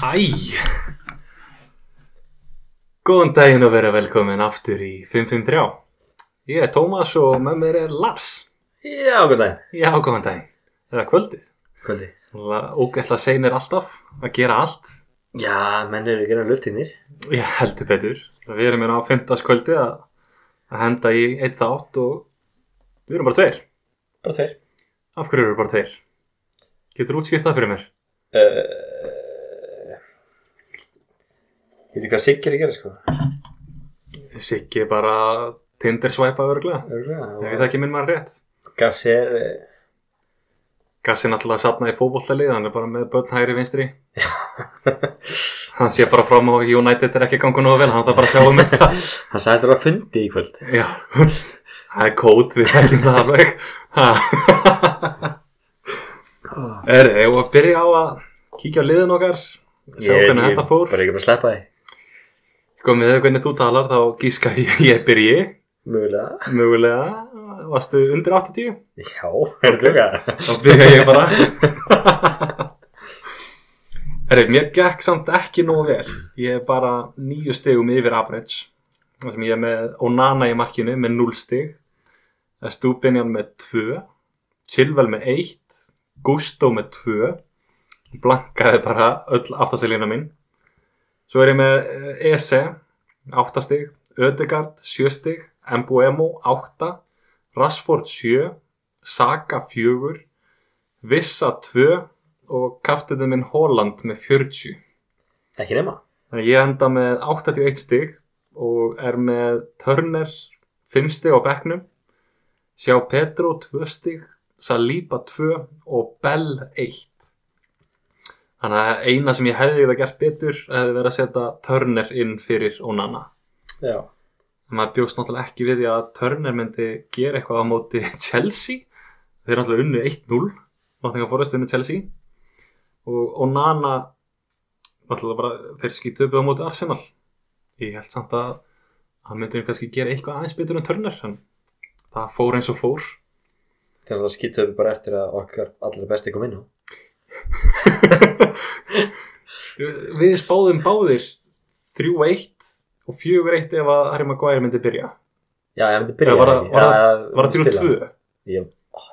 Æ! Góðan daginn og vera velkomin aftur í 553. Ég er Tómas og með mér er Lars. Já, góð daginn. Já, góðan daginn. Eða kvöldið. Kvöldi. Ógæsla seinir alltaf að gera allt. Já, menn eru að gera löftíðnir. Ég heldur betur. Við erum hérna á 15. kvöldi að, að henda í eitt þátt og við erum bara tveir. Bara tveir. Af hverju eru bara tveir? Getur útskipt það fyrir mér? Uh, Veitu hvað Siggi er að gera, sko? Siggi er bara Tinder swipa örglega. Ef ég Örgulega. þekki minn mann rétt. Gass er... eh, Gassi náttúrulega satna í fótbolltalið, hann er bara með börn hægri vinstri. hann sé bara fram á að United er ekki gangu nógu vel, hann þarf bara að sjá um þetta. Hann sagðist þér að fundi í kvöld. Já, það er kót, við þekkjum það alveg. er, ég var að byrja á að kíkja á liðin okkar, sjá hvernig þetta fór. Bara ekki bara að sleppa því. Sko, með þau hvernig þú talar, þá gíska ég, ég byrji, Mögulega. mögulega, varstu undir 80? Já, er það klukka? þá byrja ég bara Herri, mér gekk samt ekki nógu vel ég er bara nýju stegum yfir average þar sem ég er með Onana í markinu með 0 steg Stúbinjan með 2 Silvel með 1 Gusto með 2 blankaði bara öll aftastilina mín svo er ég með eh, Ese 8 steg Ödegard 7 steg Mbuemo 8 Rashford 7 Saka 4 Vissa 2 og kaftiðin minn Holland með 40 Ekki nema. þannig að ég enda með 81 stig og er með Turner 5 stig á bekknum sjá Petro 2 stig Saliba 2 og Bell 1 þannig að eina sem ég hefði það gert betur hefði verið að setja Turner inn fyrir Onana Já. En maður bjóst náttúrulega ekki við því að Turner myndi gera eitthvað á móti Chelsea þeir náttúrulega unnu 1-0 náttúrulega fórhast unnu Chelsea og Onana náttúrulega bara þeir skýtu upp á móti Arsenal ég held samt að hann myndi kannski gera eitthvað aðeins betur en Turner en það fór eins og fór Þegar það skýttu við bara eftir að okkar allra besti kom inn á. við spáðum báðir 3-1 og 4-1 ef að Harry Maguire myndi byrja Já, ég myndi byrja. Já, var það- var það, var það 3-2 Já.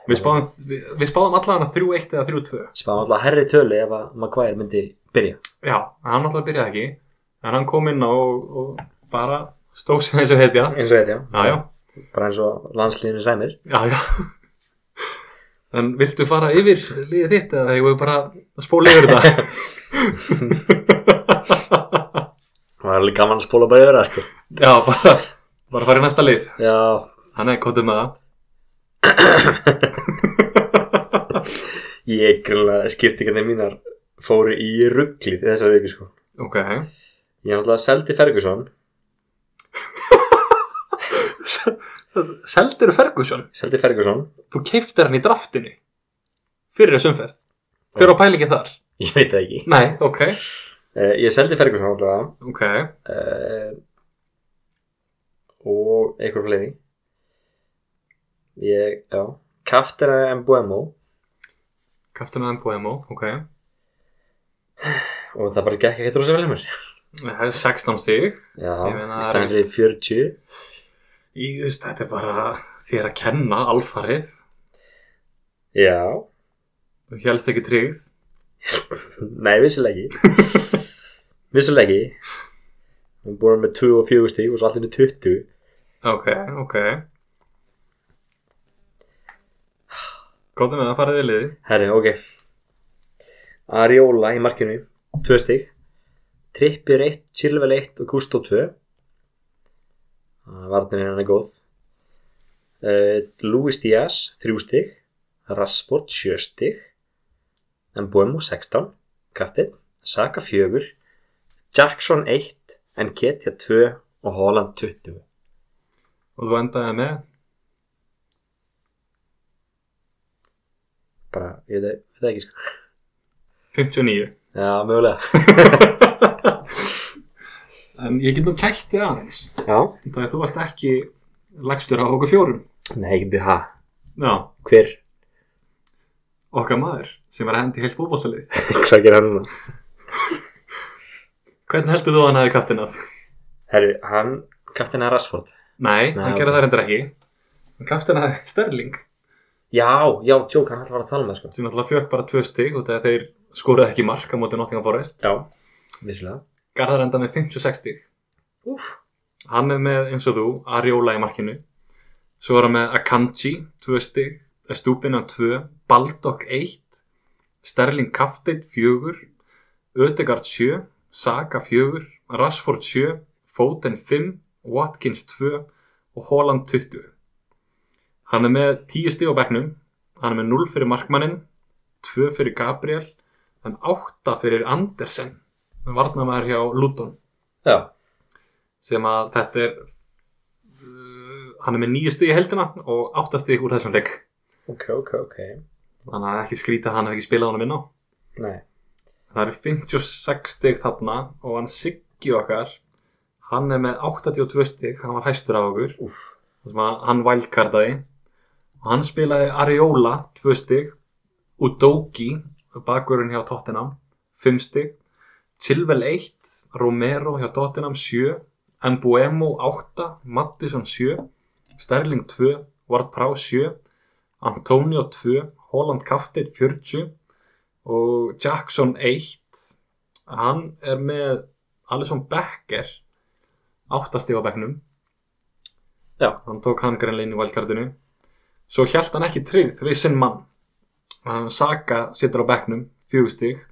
við spáðum, við, við spáðum allavega 3-1 eða 3-2 Spáðum alltaf herri tölu ef að Maguire myndi byrja. Já, hann náttúrulega byrjaði ekki en hann kom inn á og, og bara stóð sem þessu heitja eins og þetta, Já, já, bara eins og landslíðinu sæmir já, já En viltu fara yfir liðið þitt eða þegar við bara að spóla yfir það? það er alveg gaman að spóla bara yfir það sko. já, bara, bara fara í næsta lið já, Þannig, kóttum með það ég grunlega skiptingarnir mínar fóru í rugglið þessar viku sko Ok, ég er náttúrulega seldi Ferguson Seldur Ferguson, seldi Ferguson, þú keiftir hann í draftinu fyrir þessum ferð Hver á pælingin þar? ég veit það ekki Nei, ok, uh, ég seldi Ferguson náttúrulega ok uh, og einhver fleiri ég, já Kaftera Mbuemo Captain Mboemo, ok og það bara gekk ekkert rosa vel hjá mér Það er 16 stig já, Ég meina, í staðan fyrir 40 Í, þú veist, þetta er bara þér að kenna alfarið já, þú helst ekki tryggð Nei, vissulega ekki Vissulega ekki Hún er búin með 2 og 4 stíg og svo allir 20 ok, ok góðum við að fara við liði Herri, ok Ariola í markinu 2 stíg Trippir 1, Silvel 1 og Gusto 2 Varnin er hann er góð uh, Luis Díaz 3 stíg Rashford 7 stíg Mbuemo 16 Kaptinn Saka 4 Jackson 1 Nketja 2 og Holland 20 og þú endaði með bara, ég veit ég veit það ekki sko 59 já, mögulega en ég get nú kætt þig aðeins já, það er þú varst ekki lagstur á okkur fjórum nei, ekki ha já, hver, okkar maður sem er að hendi heilt fótbollalið hvað gerir hann núna Hvernig heldur þú að hann hafi kaftinað? Herru, hann, kaftina Rashford Nei, Nei, hann ok. gerði það reyndar ekki. Hann kaftinaði Sterling. Já, já, tjók, hann ætla að fara að tala um það sko sem náttúrulega fjökk bara tvö stig og þegar þeir skoraði ekki mark á móti Nottingham Forest Já, vissulega Garðar enda með 56 stig Úf, hann er með eins og þú Ariola í markinu svo er hann með Akanji 2 stig Stúbina 2, Baldok 1 Sterling Kaftit 4 Ödegard 7 Saka 4, Rashford 7 Foden 5, Watkins 2 og Holland 20 hann er með 10 stig á bekknum hann er með 0 fyrir markmannin 2 fyrir Gabriel en 8 fyrir Andersen varnamæður hjá Luton já, sem að þetta er uh, hann er með nýju stig í heldina og átta stig úr þessum leik ok, ok, ok þannig að ekki skrýta að hann hef ekki spilað honum inn á Nei, það eru 56 stig þarna og hann Siggi okkar hann er með 82 stig hann var hæstur af okkur úf, þar sem að hann wildcardaði og hann spilaði Ariola 2 stig Udoki bakverðin hjá Tottenham 5 stig Chilwell 1, Romero hjá Tottenham 7 Mbuemo 8, Mattisson 7 Sterling 2, Ward Prowse 7 Antonio 2 Holland Kaftit 40 og Jackson 1 hann er með Alisson Becker 8 stig á bekknum já, hann tók hann greinlega inn í valkartinu svo hjælt hann ekki tryggð við sinn mann hann Saka situr á bekknum fjögustig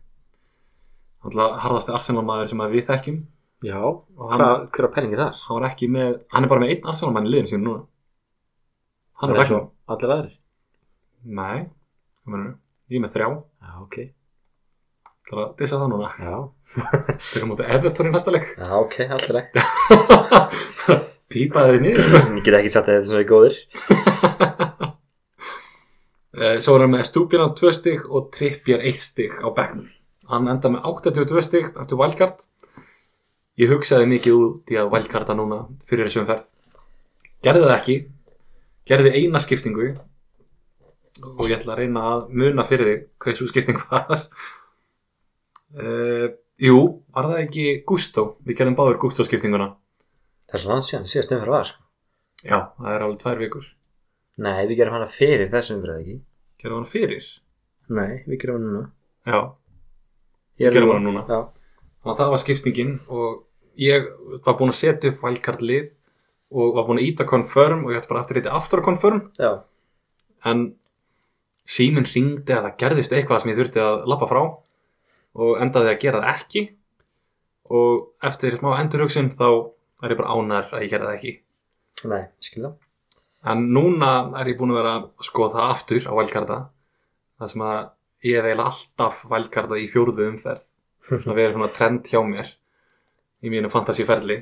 alltaf harðasti Arsenal maður sem að við þekkjum já og hann, Hvað, hver er penningi þar? hann var ekki með hann er bara með einn Arsenal mann í liðinu síðan núna hann er á svo bekknum allir aðrir nei, hvað mennur ég er með þrjá Já, ok, Það að dissa það núna. já Þeir eru mútið Everton í næsta leik. Já, ok, allir aðrir Pípaði þið niður. Ég get ekki sagt að þetta sem er góðir Eh, Svo er hann með Stúbjörn á 2 stig og Trippjör 1 stig á bekknum. Hann enda með 82 stig eftir valkart. Ég hugsaði mikið út í að valkarta núna fyrir þessum ferð. Gerði það ekki. Gerði eina skiptingu og ég ætla að reyna að muna fyrir þig hvað þessu skipting var. Uh, jú, var það ekki Gusto? Við gerðum báður Gusto skiptinguna. Það er svo langt síðan, síðast umfyrir var sko Já, það er alveg tvær vikur. Nei, við gerum hana fyrir þessum umfyrir ekki Gerðum hann fyrir? Nei, við gerum hana núna Já, Ég er gerum nú- hana núna. Já, Þannig að það var skiptingin og ég var búinn að setja upp valkart lið og var búinn að íta confirm og ég ætti bara aftur að íta aftur að confirm já, en síminn ringdi að það gerðist eitthvað sem ég þurfti að lappa frá og endaði að gera það ekki og eftir smá endurhugsun þá er ég bara ánær að ég gera það ekki nei, skil það en núna er ég búinn að vera að skoða það aftur á valkarta þar sem að ég hef eiginlega alltaf valkarta í fjórðu umferð svona verið svona trend hjá mér í mínu fantasíferli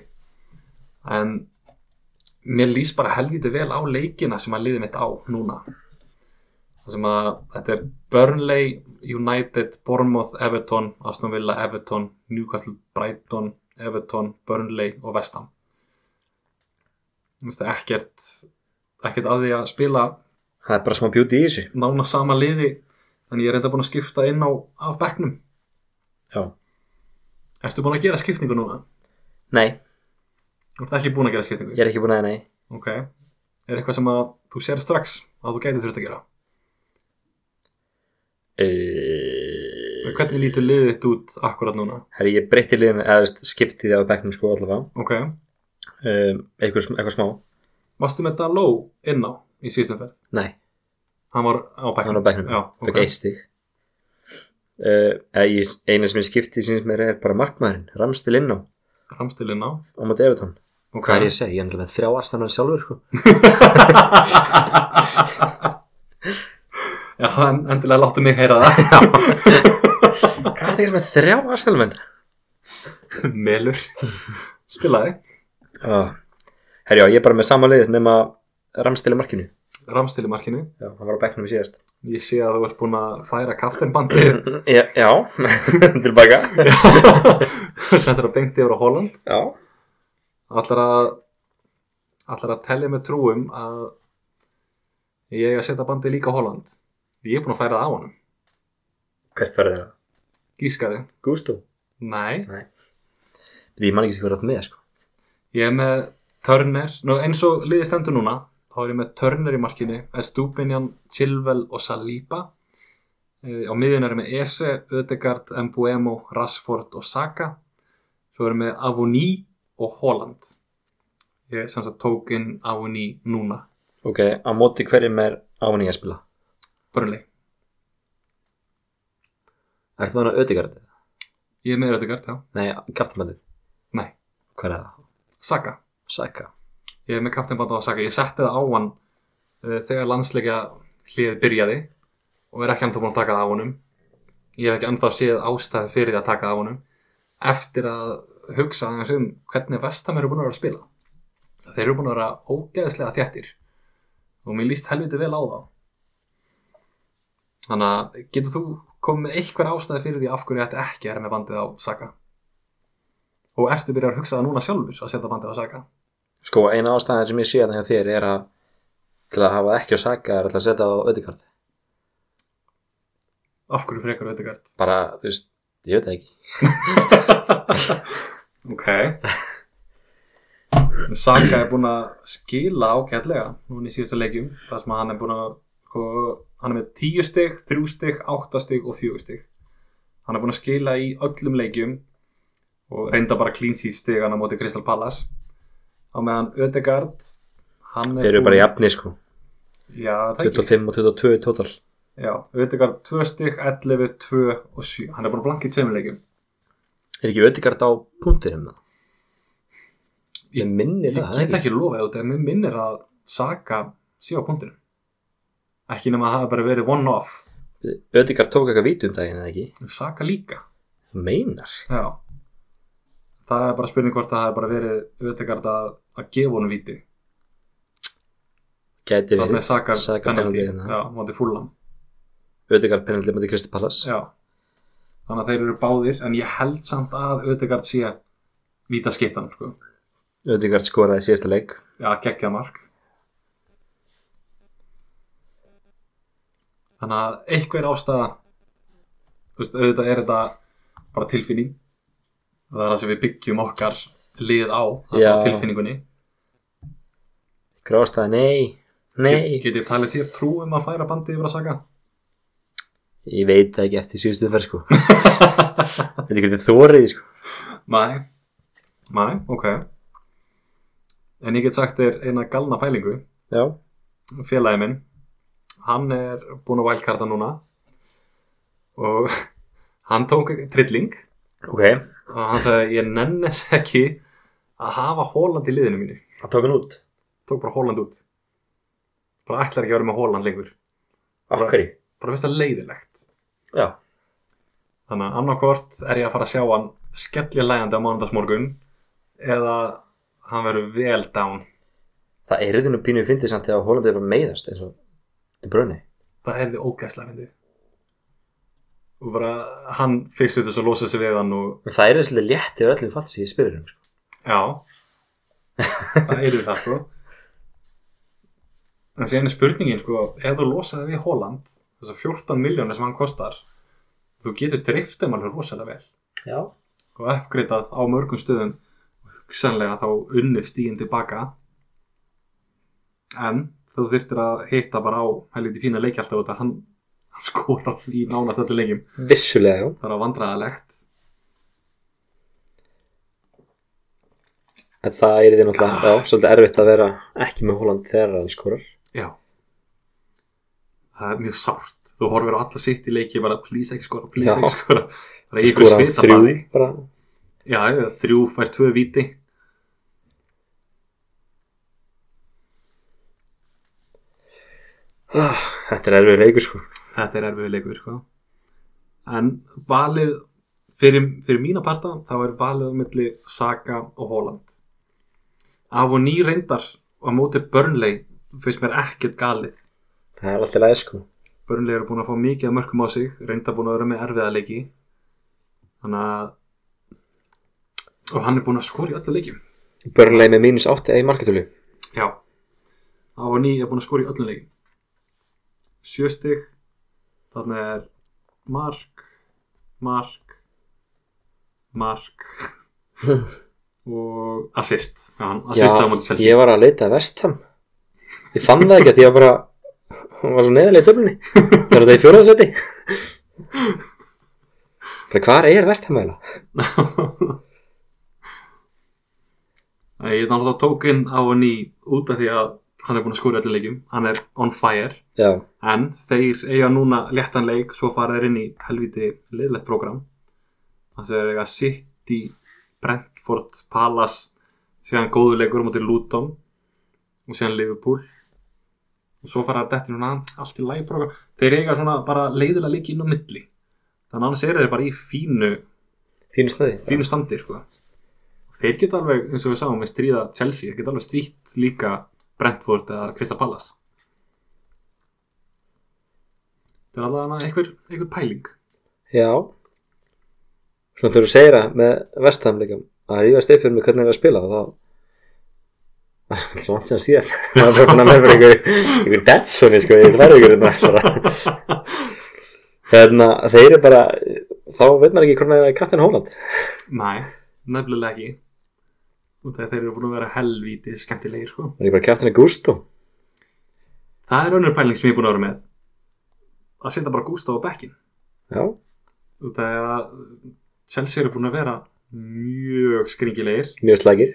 en mér lýst bara helviti vel á leikina sem að liði mitt á núna það sem að þetta er Burnley, United, Bournemouth, Everton, Aston Villa, Everton Newcastle, Brighton, Everton Burnley og Vestam það er ekkert ekkert að því að spila Það er bara smá beauty í þessu nána sama liði en ég er reynda búin að skipta inn á af bekknum Já Ertu búin að gera skiptingu núna? Nei, Þú ert ekki búin að gera skiptingu? ég er ekki búin að, nei Ok. Er eitthvað sem að þú sér strax að þú gæti þurft að gera? Uh, Hvernig lítur liðið þitt út akkurat núna? Herri, ég breytti liðin eða þú veist, skipti því á bekknum sko allavega Ok. um, eitthvað, sm- eitthvað smá Varstu með Daló inn á í síðustum ferð? Nei, Hann var á bekknum? hann á bekknum Já, Fekk eitt stig uh, eða ég- Eina sem ég skipti síns mér er bara markmaðurinn Ramstil inn á, á Ramstil inn á? móti Ah. Evertón Ok. Hvað er ég að segja? Ég er náttúrulega með þrjá arstamenn sjálfur sko. Já, en, endilega láttu mig heyra það. Hvað er þetta með þrjá arstamenn? Melur. Spilaði. Uh, herri, já, ég er bara með sama lið nema Ramstil í markinu Ramstil í markinu. Já, hann var á bekknum í síðast Ég sé að þú ert búin að færa kaftinbandið. Já, já tilbaka Þetta er að beint yfir á Holland. Já, allar að allar að tellja með trúum að ég eigi að setja bandið líka á Holland ég er búin að færa það á honum hvert færði það? gískaði, Gústó nei, Nei. Því ég man ekki sem hvað er átt með, sko. Ég er með Turner, nú, eins og liðið stendur núna, þá er ég með Turner í markinu, Estúpinjan, Chilwell og Saliba. Eh, Á miðjun er ég með Ese, Ödegard, Mbuemo, Rashford og Saka. Svo erum við Avoní og Holland. Ég sem sagt tók inn Avoní núna, Ok, á móti hverjum er ávinni að spila? börnleg. Ertu með hana ödegard? Ég er með Ödegard, já. Nei, kaftamændið. Nei, Hver er það? Saka. Saka. Ég er með kapteinbanda á Saka. Ég setti það á hann uh, þegar landsleikja hlið byrjaði og er ekki ennþá búin að taka það af honum. Ég hef ekki ennþá séð ástæði fyrir því að taka það af honum eftir að hugsa aðeins um hvernig vestam eru búin að vera að spila. Þeir eru búin að vera ógeðslega þjættir og mér líst helviti vel á þá. Þannig að getur þú komið með einhver ástæði fyrir því af hverju þetta ekki er með bandið á Saka? Og ertu byrjað að hugsa það núna sjálfur að setja bandið á Saka? Sko, eina ástæðan sem ég sé þannig að þér er að til að hafa ekki á Saka er alltaf að setja á ödegard. Af hverju frekar Ödegard? Bara, þú veist, ég veit það ekki. Ok En Saka er búinn að skila ágætlega núna í síðustu leikjum þar sem hann er búinn að sko, hann er með 10 stig, 3 stig, 8 stig og 4 stig hann er búinn að skila í öllum leikjum og reynda bara clean sheet stigana á móti Crystal Palace á meðan Ödegard hann Þeir er eru bara jafni, sko. já, það ekki 25 og 22 í total. já, Ödegard 2 stig, 11, 2 og 7 hann er búinn að blanka í tveim leikjum Er ekki ödegard á punktinum það? Ég minni Ég það, það, get er ekki lofað út ef mér minnir að Saka sé á punktinum ekki nema að það hafi bara verið one off ekki. Ödegard tók eitthvað vítum um daginn, eða ekki? Saka líka Meinar. Já. það er bara spurning hvort að það hafi bara verið auðvitað að, að gefa honum viti Gæti þannig verið. að Saka, Saka penalty penalty hérna. já, móti fullam Ödegard penaldi með Kristi Pallas. já. þannig að þeir eru báðir en ég held samt að auðvitað sé víta skiptan sko. Ödegard skoraði í síðasta leik. já, geggjað mark þannig að einhver ástæða þú veist, auðvitað er þetta bara tilfinning það er það sem við byggjum okkar lið á, það Já. er tilfinningunni Grástaði, nei, Get- nei. get ég talið þér trú um að færa bandið yfir að saga Ég veit það ekki eftir síðustu umferð, sko. Veit ekki hvernig þórið, sko. mæ, mæ, ok en ég get sagt þér eina galna pælingu Já. félagi minn hann er búin að vælkarta núna og hann tók trilling Ok. og hann sagði ég nennes ekki að hafa Holland í liðinu mínu Það tók hann út. tók bara Holland út bara ætlar ekki að vera með Holland lengur Af hverju? bara finnst það leiðilegt Já. þannig að annarkvort er ég að fara að sjá hann skellja lægandi á mánundagsmorgun eða hann verður vel down Það er reyðinu pínu fyndið samt þegar Holland er bara meiðast eins og De Bruyne. það hefði ógæslega myndið og bara hann fyrst út þess að losa sig við hann og En það er þess að létti af öllum fantasy í spyrirum, sko. Já Það er það sko En síðan er spurningin sko Ef þú losaði við Holland Þessar 14 miljónir sem hann kostar Þú getur dreift þeim alveg rosalega vel Já. Og uppgreitað á mörgum stöðum Og hugsanlega þá unnið stíðin tilbaka En þú þyrftir að hitta bara á helviti fína leikjallta út að hann, hann skorar í nánast öllu leikjum Vissulega, já. Það er á vandræðalegt En það er því náttúrulega, já, svolítið erfitt að vera ekki með Holland þegar hann skorar. Já Það er mjög sárt Þú horfir á alla sitt í leiki bara please ekki skora, please Já. ekki skora Það er ykkur Skorar hann svita þrjú, bara bara. Já, eða þrjú fær tvö viti Ah, Þetta er erfið leikur, sko. Þetta er erfið leikur sko. En valið fyrir, fyrir mína parta þá er valið á milli Saga og Holland Af og ný reyndar á móti Burnley finnst mér ekkert galið Það er alltaf leið, sko. Burnley eru búin að fá mikið af mörkum á sig reynda búin að vera með erfiða leiki þannig að og hann er búin að skora í öllu leikjum Börnlega með mínus 8 eða í marketölu. Já Á og ný er búin að skora í öllum leikum Sjö stig Þannig er mark Mark Mark og assist Já, hann assistaði á móti Chelsea ég var að leita að vestam ég fann það ekki að því að bara hann var svo neðarlega í töflunni það er þetta í fjóraðsæti bara hvar er vestam eiginlega Nei, ég náttúrulega tók inn á hann í út af því að hann er búin að skóra allir leikjum, hann er on fire já, en þeir eiga núna léttan leik svo fara þeir inn í helviti liðlegt program þannig að þeir eiga City, Brentford, Palace síðan góðu leikur á móti Luton og síðan Liverpool og svo fara þetta núna allt í lagi program þeir eiga svona bara leiðilega leiki inn á milli þannig að annars eru þeir bara í fínu fínu snöði fínu standi sko. og þeir geta alveg, eins og við sáum við stríða Chelsea, þeir geta alveg strítt líka Brentford eða Crystal Palace þetta er allavega einhver, einhver pæling já svona þegar þú segir að með vestam líka að rífast upp fyrir mig hvernig það er að spila þá það er svona sem síðan maður er bara búin að með fyrir einhver einhver Datsun sko, ég þarf ykkur hérna bara. hérna, þeir eru bara þá veit maður ekki hvernig það er Captain Holland nei, nefnilega ekki og þegar þeir eru búin að vera helvíti skemmtilegir sko. Það er bara Captain Augusto það er önnur pæling sem ég er búin að vera með að setja bara Gustaf á bekkin Já, og þegar Chelsea eru búin að vera mjög skringilegir mjög slagir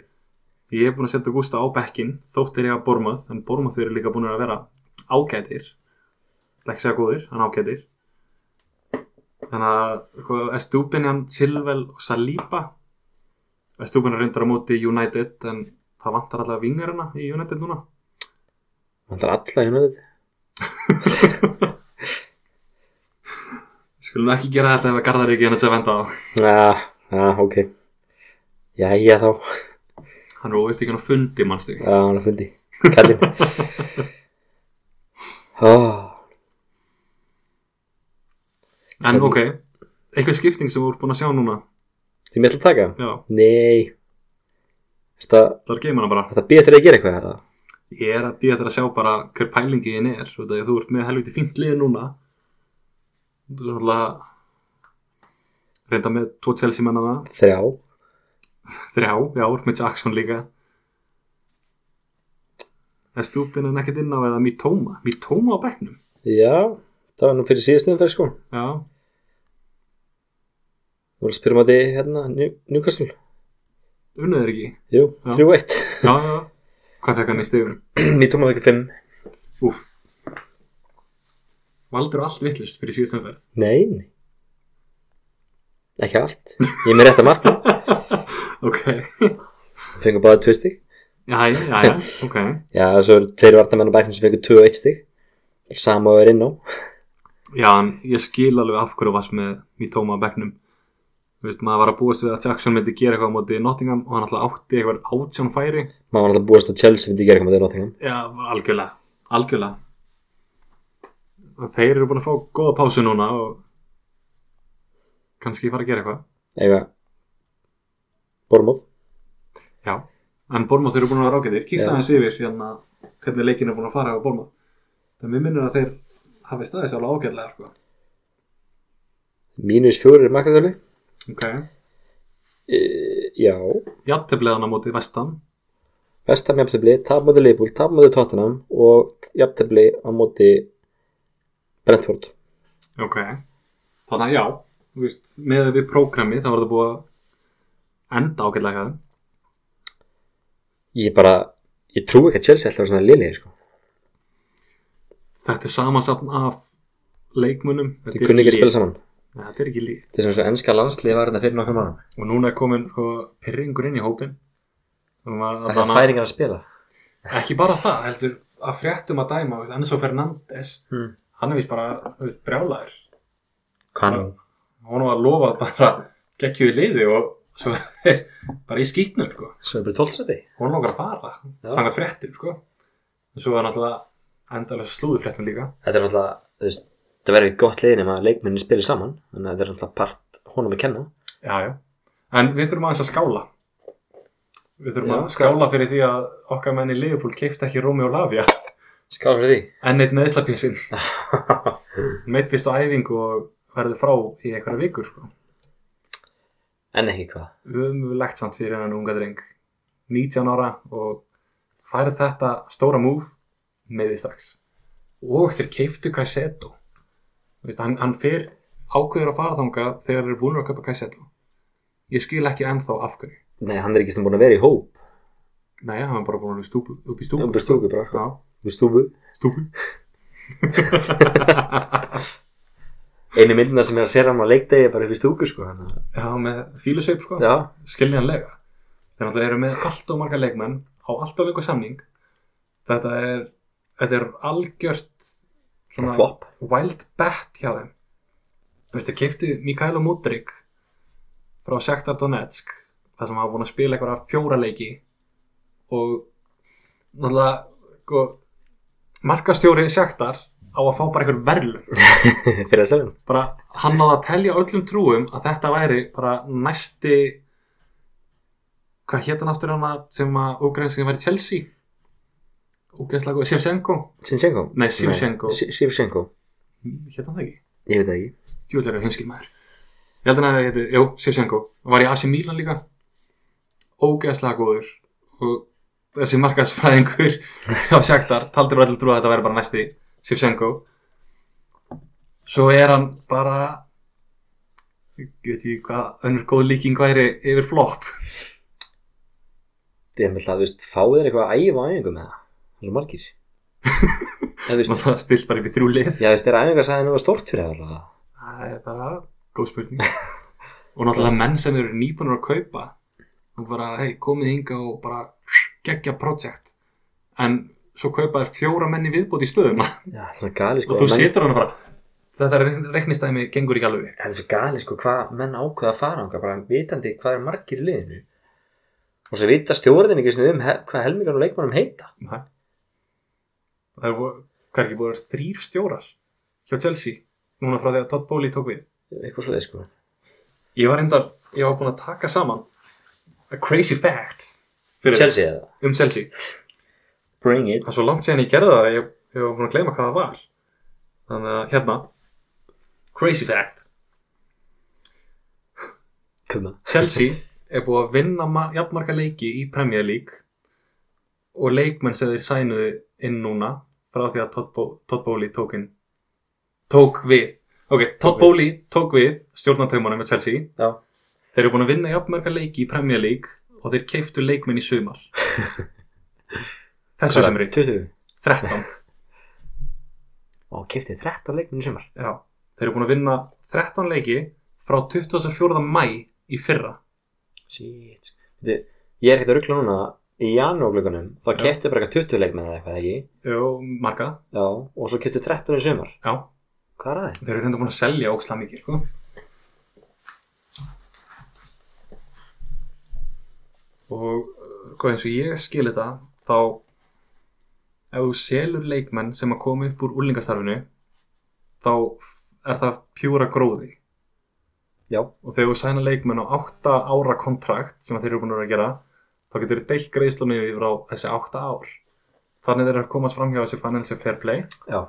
Ég er búin að setja Gústa á bekkin þóttir ég að Bormað, en Bormað þeir eru líka búin að vera ágætir Það ekki að segja góðir, en ágætir Þannig að Estúbinjan, Silvel og Saliba Estúbinjan reyndar á móti United en það vantar allavega vingarina í United núna Það er alla hérna þetta Skulum ekki gera þetta ef að Garðar er ekki hann að venda á Já, já, ok Jæja þá Hann er óvilt ekki hann á fundi, mannstu ekki Já, hann er fundi Kallinn Ó, En ok, eitthvað skipting sem við erum búin að sjá núna Sem ég ætla að taka Já, Nei Þetta, það er geimana bara þetta býða þér að gera eitthvað hérna? það. Ég er að býja þér að sjá bara hver pælingi þín er út af því að þú ert með helviti fínt lið núna Þú er náttúrulega reynda með tvo Chelsea mennana Þrjá þrjá, já, ert með Jackson líka Er stúpinn en ekkert inn á eða Mitoma Mitoma á bekknum, Já, það var nú fyrir síðast nefnferð sko já Þú voru að spyrja maður því hérna Njú- Newcastle Unnaður ekki, Jú, Já. 3-1 já, já Hvað fekk hann í stegum? Nýtum að það ekki 5 Úf Valdur allt vittlust fyrir síðast umferð Nei, nei. Ekki allt. Ég er með rétt að marka. Ok, Við fengum báðið 2 stík. já, já, já, ok Já, svo eru tveir varnamenn á bæknum sem fengum 2 og 1 stík. Sama er inn á. Já, en ég skil alveg af hverju varst með Mitoma að bekknum Þú veist, maður var að búast við að Jackson myndi gera eitthvað á móti Nottingham og hann alltaf átti eitthvað átján færi Maður var alltaf búist á Chelsea við því gerum að þau náttingum. Já, bara algjörlega, algjörlega og Þeir eru búin að fá góða pásu núna og kannski fara að gera eitthvað Ega, Bormóð. Já, en Bormóð eru búin að vera ágætir Já. Kíkta hans yfir hérna hvernig leikin er búin að fara á Bormóð Það mér minnur að þeir hafi staðið sér alveg ágætlega sko. Mínus fjórir er makkatölu. Ok, E, já. jafnteflega hann á móti vestan Vestam jafntefli, tap móti Leipúl, tap móti Tottenham og jafntefli á móti Brentford. Ok, þannig að já, þú veist, með við prógrami þá var það búið að enda ágætlega hjá þeim. Ég bara, ég trúi ekki að Chelsea ætla að vera svona liðlega, sko. Þetta er samansapn af leikmunum. Ég kunni ekki að spila saman. Nei, þetta er ekki líf. Þetta er svona svo ennska landslið var hérna fyrir nokkur mánum. Og núna er komin sko, pyrringur inn í hópin. Það er færingar að spila. Ekki bara það, heldur að fréttum að dæma, þú veist, Enzo Fernández, Hmm. hann er vist bara þú veist, brjálæður. Hvað nú? Hún var að lofa bara geggju í liði og svo er bara í skýtnum, sko. Svo er bara tólfsæti. hún langar að fara Já. sangat fréttum sko en svo er náttúrulega endalega slúðu fréttum líka Þetta er náttúrulega, þú veist, það verður ekki gott liðin ef að leikmennin spilir saman. Þannig að þetta er náttúrulega part honum að kenna. já, já. en við þurfum aðeins að skála við þurfum Já, að skála fyrir því að okkar menn í Liverpool keipta ekki Rómi og Lavia Skál fyrir því. enn eitt meðslapjæsin meittist á æfingu og verður frá í einhverja vikur sko. en ekki hvað Ömulegt samt fyrir hennan unga dreng 19 ára og færið þetta stóra múf með því strax og þeir keiftu Kaiseto Vist, hann, hann fer ákveður að fara þangað þegar þeir eru búin að köpa Kaiseto ég skil ekki ennþá af hverju Nei, hann er ekki sem búin að vera í hóp Nei, hann var bara búin að vera í stúpu, upp í stúpu Stúbu, stúbu bara Já, Þú stúbu stúpu Einu myndina sem er að sér hann á leikdegi er bara upp í stúku sko hann. Já, með fílusveip sko Já, skiljanlega þeir náttúrulega eru með allt og marga leikmenn á allt og lengur samning þetta er, þetta er algjört svona svona flop wild bet hjá þeim þú veist, þeir keiftu Mikaelo Mudrik frá Sektar Donetsk þar sem hafa búin að spila eitthvað fjóra leiki og náttúrulega sko, markastjóri Sektar á að fá bara einhver verðlun Fyrir að segja bara hann náði að telja öllum trúum að þetta væri bara næsti hvað hétt hann aftur hann að- sem að úgrænsingar væri Chelsea úgrænsingar góð, Sivsenko Sinchenko Nei, Shevchenko. Sivchenko hétt hann það ekki, Ég veit það ekki djúlega er heimskil maður ég held hann að það hétti, jú, Sivsenko hann var í AC Milan líka ógeðslega góður og þessi markaðsfræðingur á sektar, taldur öllum trú að þetta væri bara næsti Sivsenko svo er hann bara ég veit ekki hvað önnur góð líking væri yfir flop Ég hef með það, þú veist, fáið þér eitthvað að æfa á æfingu með það Það er margir Það þú veist og það stilt bara upp í þrjú lið Já, þú veist, er æfingarsæðin nú stort fyrir það alltaf það er bara góð spurning og náttúrulega menn sem eru nýbunur að kaupa og bara, hei, komið hinga og bara geggja projekt en svo kaupa þér fjóra menni viðbót í stöðuna Já, það er svo gali sko og þú menn- setur hann bara þetta reik- reiknistæmi gengur ekki alveg upp. Það er svo gali sko hvað menn ákveða að fara ánga, bara vitandi hvað er margir í liðinu og svo vita stjórnin ekki svona um he hvað helmingar og leikmannum heita Nei. það er vo- hvað er ekki búið að vera þrýr stjórar hjá Chelsea núna frá því að Todd Bowley tók við eitthvað svoleið sko Ég var reyndar, ég var búinn að taka saman a crazy fact fyrir Chelsea eða um Chelsea. Bring it Það er svo langt síðan ég gerði það að ég, ég var búinn að gleyma hvað það var. Þannig að hérna, crazy fact, Kuna. Chelsea er búið að vinna ma- jafnmarga leiki í Premier League og leikmenn sem þeir sænuðu inn núna frá því að Todd Bo- Todd Bowley tók inn, tók við. Ok, Todd Tók við. Bowley tók við stjórnartaumanum með Chelsea. Já, Þeir eru búin að vinna jafnmarga leiki í Premier League og þeir keiftu leikminn í sumar. Þessu hvað er sumri, það? 20 13. og keftið 13 leikmenn í sumar Já. Þeir eru búin að vinna 13 leiki frá 24. mæ í fyrra. Shit Þið, Ég er ekkert að ruggla núna í janúarglögunum þá Já. keftið bara eitthvað 20 leikmenn eða eitthvað ekki Jó, marga. Já, og svo keftið 13 í sumar Já. Hvað er það? Þeir eru reynda búin að selja óksla mikið, sko. Og uh, hvað eins og ég skil þetta, þá ef þú selur leikmenn sem að koma upp úr úlingastarfinu, þá er það pjúra gróði. Já, og þegar þú sæna leikmenn á 8 ára kontrakt sem að þeir eru búin að vera að gera þá getur þið deilt greiðslunni yfir á þessi 8 ár þannig þeir eru að komast fram hjá þessi financial fair play já,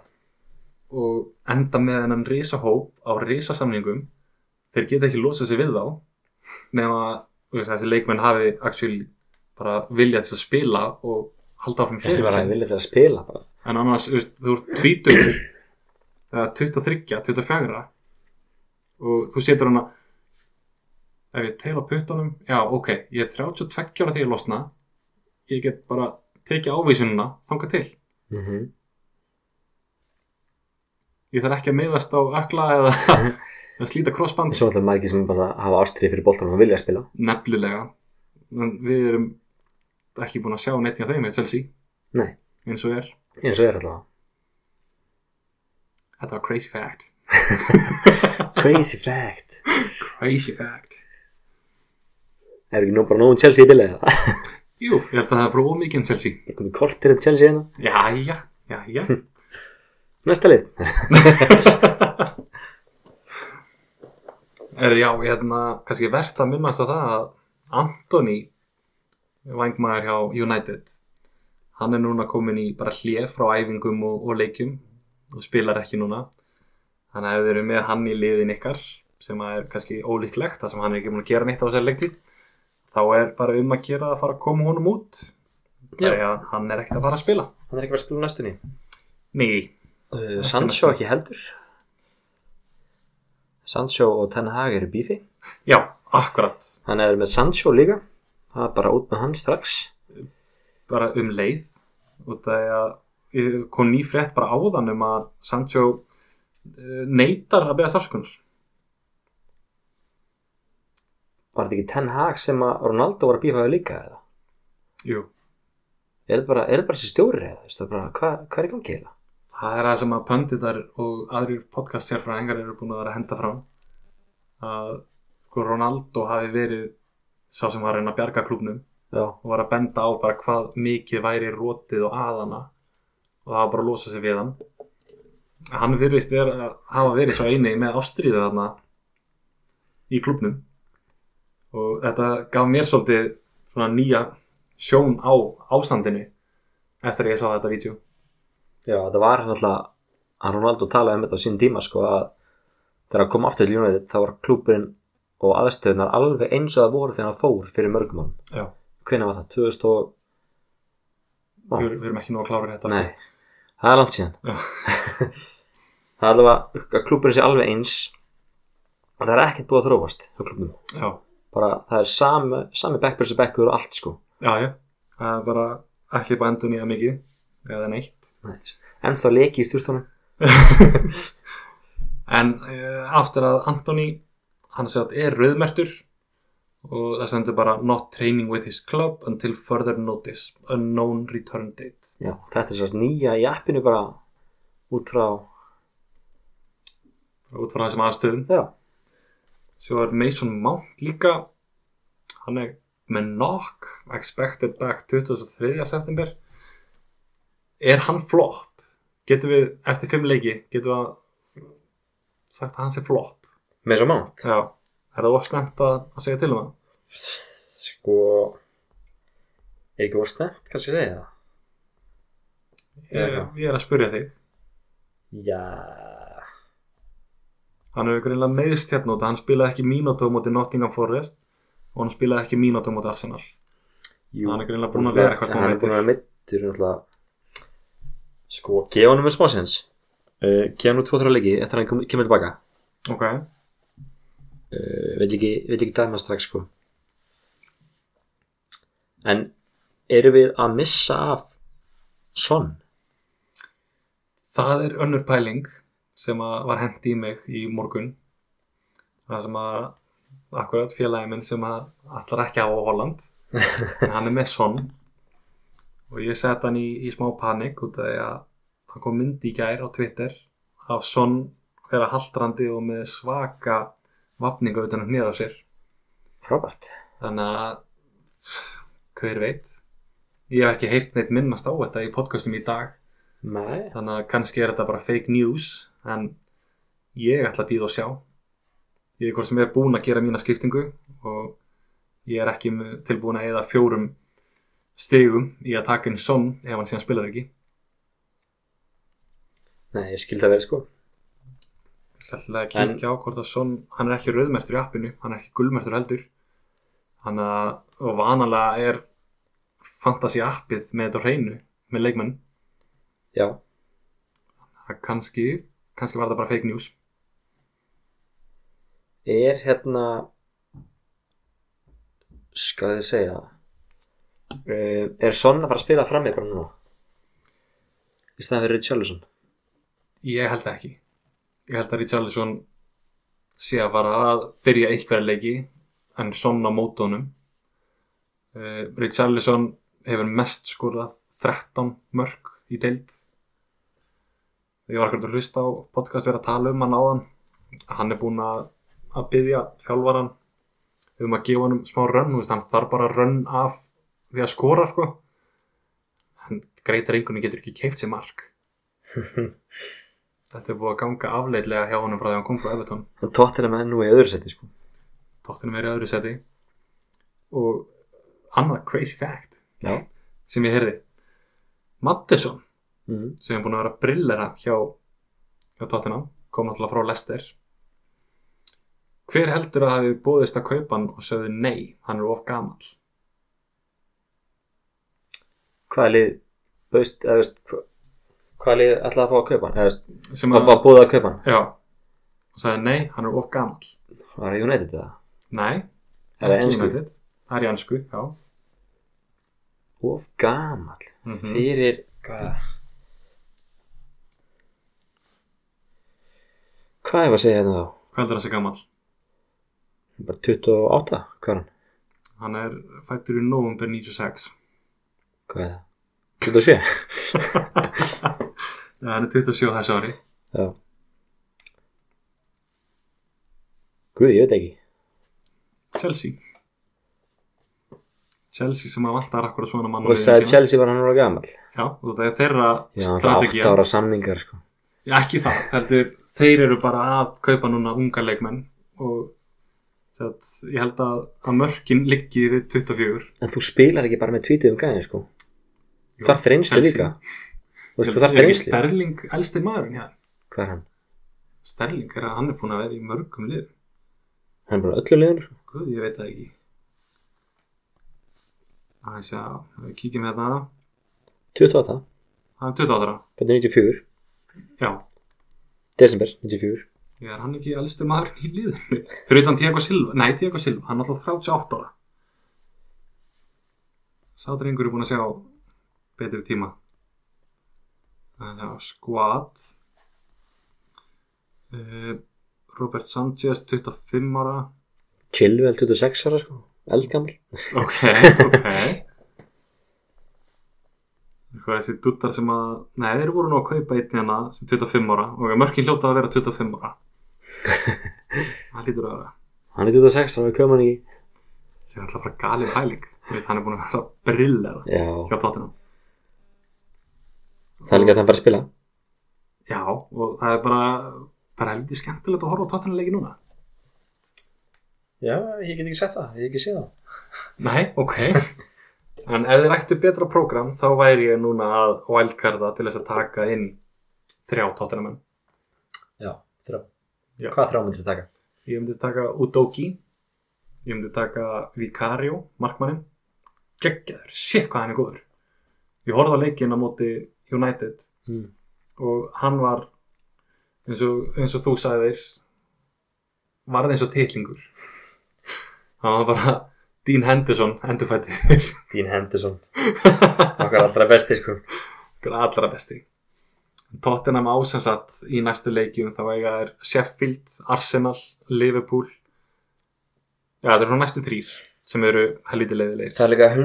og enda með hennan risahóp á risasamningum þeir geta ekki losað sér við þá nema þú veist, þessi leikmenn hafi actually bara viljað þess að spila og halda áfram ég er fyrir bara sig vilja til að spila bara. en annars þú veist, þú ert 20 eða 23, 24 og þú setur hana ef ég tel á puttunum já ok, ég er 32 ára þegar ég losna ég get bara tekið ávísununa þangað til Mm ég þarf ekki að meiðast á ökla eða að slíta En crossband svo alltaf margir sem bara hafa ástrið fyrir boltanum og vilja að spila nefnilega en við erum ekki búin að sjá neitt í þeim með Chelsea Nei. eins og er, eins og er alltaf þetta var crazy fact Crazy fact crazy fact Er ekki nú bara nóg um Chelsea í byrja það? jú, ég held að það er bara ómikið um Chelsea Það komið kortir um Chelsea hérna Jæja, jæja Næsta lið Er, já, hérna, kannski verðt að minnast á það að Anthony vangmaður hjá United hann er núna komin í bara hlið frá æfingum og, og leikjum og spilar ekki núna þannig að ef þeir eru með hann í liðin ykkar sem að er kannski ólíklegt þar sem hann er ekki múin að gera neitt á þessari leiktíð þá er bara um að gera að fara að koma honum út Já. þegar að hann er ekkert að fara að spila Hann er ekki bara að spila á næstunni. Ný, Uh, Sancho ekki heldur. Sancho og Ten Hag eru í bífi. já, akkurat Hann er með Sancho líka. Það er bara út með hann strax. bara um leið og það er að ég kom ný frétt bara áðan um að Sancho eh, neitar að beða starfskunar Var þetta ekki Ten Hag sem að Ronaldo var að bífa við líka eða? Jú, Er þetta bara, er þetta bara þessi stjóri eða? Þú veist, Það er bara, hvað, hvað er í gangi eða? það er það sem að pönditar og aðrir podcast sérfræðingar eru búin að vera að henda fram að sko Ronaldo hafi verið sá sem var að reyna að bjarga klubnum Já. og var að benda á bara hvað mikið væri rótið og aðana og það var bara að losa sig við hann hann virðist vera, hafa verið svo eini með ástríðu þarna í klubnum og þetta gaf mér svolítið svona nýja sjón á ástandinu eftir að ég sá þetta vídeo Já, þetta var hann alltaf, hann Ronaldo talaði um þetta á sín tíma sko að þegar hann kom aftur til United þá var klúburinn og aðstöðunar alveg eins og það voru þegar hann fór fyrir mörgum hann. já, Hvenær var það? 2000 og... Ó, við, við erum ekki nóg að klára þetta nei, það er langt síðan. Já. það er allavega að klúburinn sé alveg eins og það er ekkert búið að þróast hjá klúburnum. já, Bara það er sami, sami backbjörns og bekkur og allt sko. já, já, það er bara ekki bara endur nýja mikið eða neitt En þá leki í stjórnum. En uh, aftur að Antoni, hann segja að er rauðmertur og það stendur bara not training with his club until further notice, unknown return date. Já, þetta er sérst nýja í appinu bara út frá... Bara Út frá þessum aðstöðum. Já. Svo er Mason Mount líka, hann er með knock, expected back 23. september. Er hann flop? Getum við, eftir fimm leiki, getum við að sagt að hann sé flop? Með svo mán. Já. Er það ofsnemt að, að segja til um það? sko er ekki voru snemt kannski að segja það Ég, Já. ég er að spyrja þig. já hann hefur greinlega meðist hérna út að hann spilaði ekki mínútu á móti Nottingham Forest og hann spilaði ekki mínútu á móti Arsenal jú, Hann er greinilega búinn að vera eitthvað smá hann er búin að vera mittur náttúrulega sko gefa hann um smá sens uh, gefa hann úr 2-3 leiki eftir að hann kom- kemur tilbaka ok, uh, vil ekki, vil ekki dæma strax sko en erum við að missa af son það er önnur pæling sem að var hent í mig í morgun það sem að akkurat félagi minn sem að allar ekki hafa á Holland en hann er með son og ég sett hann í, í smá panik út af því að það kom myndi í gær á Twitter af son vera haldrandi og með svaka vapninga utan að hnýða á sér frábært þannig að hver veit ég hef ekki heyrt neitt minnast á þetta í podcastum í dag Nei. þannig að kannski er þetta bara fake news en ég ætla að býða og sjá ég er hvort sem er búin að gera mína skiptingu og ég er ekki með- tilbúin að eða fjórum stigum í að taka inn som ef hann síðan spilar ekki Nei, ég skil það verið sko Ég ætla að kíkja á hvort að Son, hann er ekki rauðmertur í appinu, hann er ekki gulmertur heldur. Hann að, og vanalega er fantasy appið með þetta á hreinu, með leikmenn. já, Það kannski, kannski var þetta bara fake news. er hérna skal ég segja uh, er Son að fara að spila frammi bara núna í staðan fyrir Richarlison Ég held ekki. Ég held að Richarlison sé að fara að byrja einhverja leiki, en Son á mótónum. Uh, Richarlison hefur mest skorað 13 mörg í deild. Ég var ekkert að hlusta á podcast vera að tala um hann áðan. Hann er búinn að, að byggja þjálfaran um að gefa hann smá rönn, þú veist, hann þarf bara rönn af því að skora, sko. Hann greitar einhvern getur ekki keift sér mark. Þetta er búið að ganga afleitlega hjá honum frá því að hann kom frá Everton. hann tóttir það með nú í öðru seti sko. Tóttunum er í öðru seti. Og annað crazy fact já sem ég heyrði. Mattisson, mm. sem er búin að vera brillera hjá, hjá Tóttunum, kom náttúrulega frá Leicester. Hver heldur að hafi bóðist að kaupa hann og sögðu nei, hann er of gamall? Hvaða lið bauðst, eða veist, hva- hvaða lið ætlaði að fá að kaupa hann? Eða veist, Sem hvað var búið að kaupa hann? já, og sagði nei, hann er of gamall. Var það United eða? Nei, Það er ekki ennsku. United. Það er í ennsku, já. Of gamall. Mm Fyrir, hvað? Hvað er að segja hérna þá? Hvað heldur að sé gamall? Bara 28, hvað er hann? Hann er fættur í november 96. Hvað er það? 27? Já, hann er 27 þessu ári. Já. Guð, ég veit ekki. Chelsea. Chelsea sem að vantar akkurat svona mann á Og liðinu það er sínu. Chelsea var hann ára gamall. Já, og það er þeirra Já, hann það er 8 strategía. ára samningar, sko. Já, ekki það, heldur, þeir eru bara að kaupa núna unga leikmenn og það, ég held að, að mörkin liggi við 24. En þú spilar ekki bara með tvítið um gæðin, sko. Jú, Þú þarf reynslu Chelsea. líka. Þú veist, Ég þú þarf er ekki reynslu. Sterling, elsti maðurinn, já. Hvað er hann? Sterling er að hann er búin að vera í mörgum liðum. Hann er bara á öllu liðinu, sko. Guð, ég veit það ekki. Þannig að við kíkjum hérna, 28, hann er 28. þetta er 94, Já, desember 94. ég er hann ekki elsti maðurinn í liðinu. Fyrir utan Tiago Silva, nei Tiago Silva, hann er alltaf 38 ára. Sá drengur er búin að sjá betri tíma. Þannig að skvat. Uh, Robert Sanchez, 25 ára. Chilwell 26 ára, sko. Eldgamall. Ok, ok. Hvað þessi duttar sem að, nei þeir voru nú að kaupa einn hérna sem 25 ára og mörkin hljóta að vera 25 ára. Það lítur að vera. Hann er 26 ára, við köfum hann ekki. sem er alltaf bara galið hæling veit, hann er búin að vera brillera Já, hjá tóttina það er líka að hann bara að spila. já, og það er bara bara helviti skemmtilegt að horfa á tóttina leiki núna Já, ég get ekki sett það, ég get ekki séð það. nei, ok en ef þið ættu betra prógram þá væri ég núna að wildcarda til þess að taka inn þrjá tóttina menn Já, þrjá. Já. Hvað þrjá myndir taka? ég myndi taka Udoki ég myndi taka Vicario markmannin, geggjaður shit hvað hann er góður ég horfði á leikin á móti United Mm. og hann var eins og, eins og þú sagðir varði eins og titlingur hann var bara Dean Henderson endurfættir Dean Henderson. Okkar allra besti, sko. allra besti Tottenham ásansat í næstu leikjum þá eiga er Sheffield, Arsenal, Liverpool já það eru svona næstu þrýr sem eru helviti leiðilegir Það er líka 105.000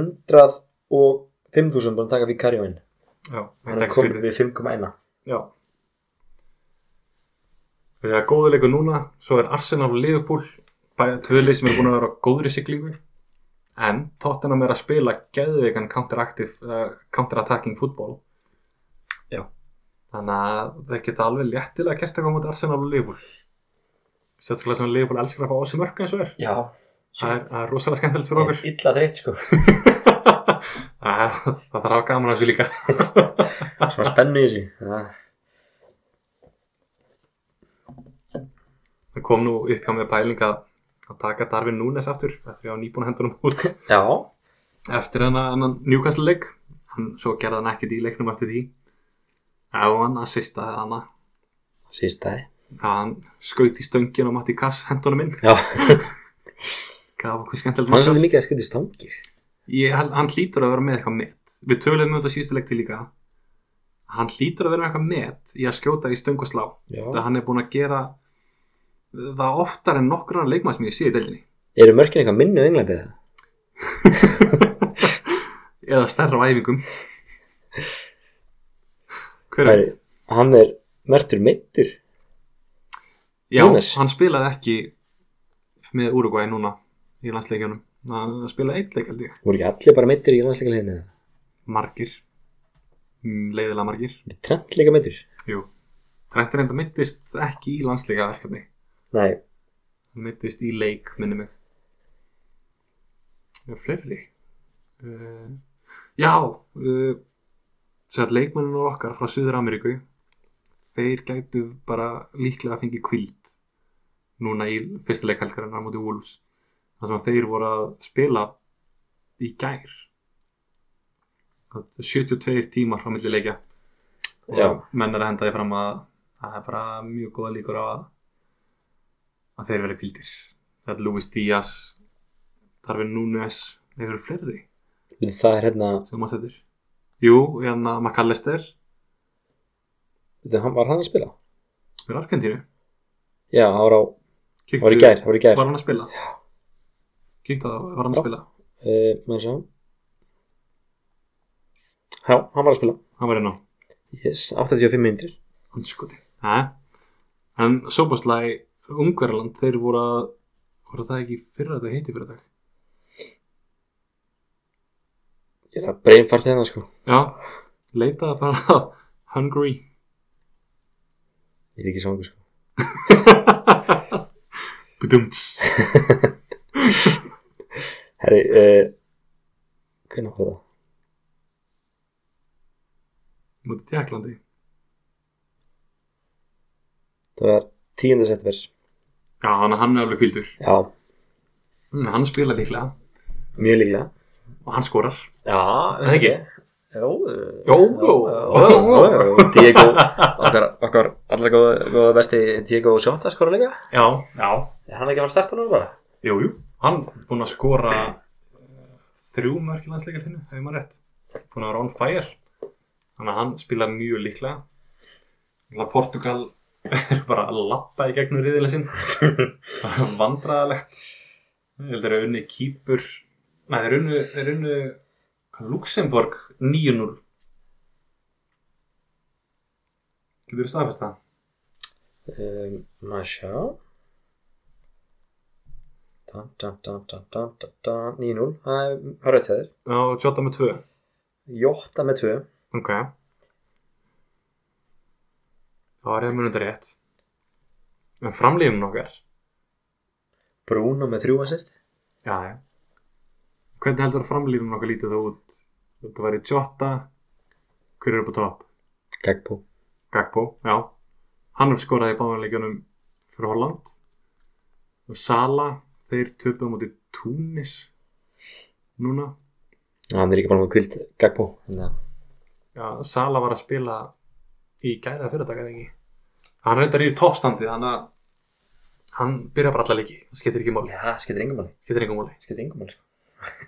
búin að taka vikarjóin. já, mér Hann er finnst komin skrítið. við 5,1. já það er góðu leikur núna svo er Arsenal og Liverpool bæða tvölið sem eru búin að vera á góðri siglingu en Tottenham er að spila geðveikan counteractive uh, counterattacking fútbol Já. þannig að þeir geta alveg léttilega gert eitthvað mot Arsenal og Liverpool sérstaklega sem Liverpool elskar að fá á sig mörg eins og er Já. það er, það er rosalega skemmtilegt fyrir okkur Illa þreytt, sko. það, það þarf að hafa gaman að þessu líka Svona spennu í þessu. Já. það kom nú upp hjá með pæling að að taka Darvin Núnes aftur eftir að nýbúna hendunum út Já. eftir hennan hennan Newcastle leik hann svo gerði hann ekkert í leiknum eftir því ef hann assistaði hana Sýstæði. að hann skaut í stöngin og Matti Kass hendunum inn Já. Hann gaf okkur skemmtilegt er mark. svolítið mikið að skilja stangir. Ég- hann hann hlýtur að vera með eitthvað met við töluðum um þetta síðustu leikti líka hann hlýtur að vera með eitthvað met í að skjóta í stöng og slá Já. það hann er búin að gera það oftar en nokkur annar leikmann sem ég sé í delinni Eru mörkin eitthvað minni á Englandi það? eða stærra á æfingum hver Æri, veit hann er mertur meittur. Já, Núnes. hann spilaði ekki með Uruguay núna í landsleikjunum hann spilaði eitt leik held ég Voru ekki allir bara meittur í landsleikaliðinu? margir, Mm, leiðilega margir Við trent líka meittur. Jú, Trent reynda mittist ekki í landsleikaverkefni Nei, hann mittist í leik, minni mig Já, fleiri uh, Já uh, sér að leikmenninu okkar frá Suður Ameríku þeir gætu bara líklega að fengi kvild núna í fyrsta leikhelgarinnar á móti Wolves þar sem að þeir voru að spila í gær Það er 72 tímar á milli leikja og Já. menn er að henda því fram að það er bara mjög góða líkur á að að þeir verið kvildir það er Luis Díaz Darvin Núnes, þeir eru fleiri Það er hérna, sem mátt þetta Jú, hérna McAllister veitu, hann- var hann að spila? fyrir Argentínu Já, hann var á, Kíktu- var í gær, var í gær. Var hann að spila? Já Kíkta það, var hann Já. að spila? Uh, maður sjá. Já, hann var að spila. Hann var hérna. inn á Yes, 85 minnir. anskoti En sóbáslæg Ungverland, þeir voru að voru það ekki fyrir að það heiti fyrir dag Ég er að breynfart hérna, sko. Já, leitaði bara að Hungary Ég er ekki svangur, sko. Budumts Herri, uh, hvernig var það? Mútið Tjekklandi Það var 10. september. Já, hann, hann er alveg kvildur Já, Hann spila líklega mjög líklega. og hann skorar Já, er það ekki? Jó, eh, Jó, jó. Diego, okkar, okkar allra góða, góða besti Diego Sjóta skora líka. Já, já Er hann ekki að fara að starta núna bara? Jú, jú, hann er búinn að skora eh, þrjú mörk í landsleikar hennu, hefur maður rétt. Búinn að vera on fire. Þannig að hann spila mjög líklega. Þannig að Portugal er bara að lappa í gegnum riðilega sinn. Það er vandraðalegt. Ég held að þeir eru unni Kýpur. Nei, þeir eru unni, þeir eru unni hvað, Luxemborg 9-0. Getur þú staðfest það? Um, maður sjá. Dun, dun, dun, dun, dun, dun, dun, 9-0, það er það rætt hjá þér. Já, 28 með 2. Jóta með 2. Ok. Þá var ég að muna þetta rétt. En framlífum okkar. Bruno með 3 assist. Já, já. Hvernig heldur að framlífum okkar lítið þá út? Þetta væri Jota. Hver er upp á topp? Gagbo. Gagbo, já. Hann er skoraði í báðanleikjunum fyrir Holland. Og Sala, þeir töpuðu á móti Túnis núna. Hann er ekki bara með kvild Gagbo. Þannig að Já, Sala var að spila í gæra fyrirtaka eða ekki. Hann reyndar í toppstandi, þannig að hann byrja bara alla leiki, það skiptir ekki máli, Já, skiptir engum máli. skiptir ekki máli. Skiptir engum máli, sko.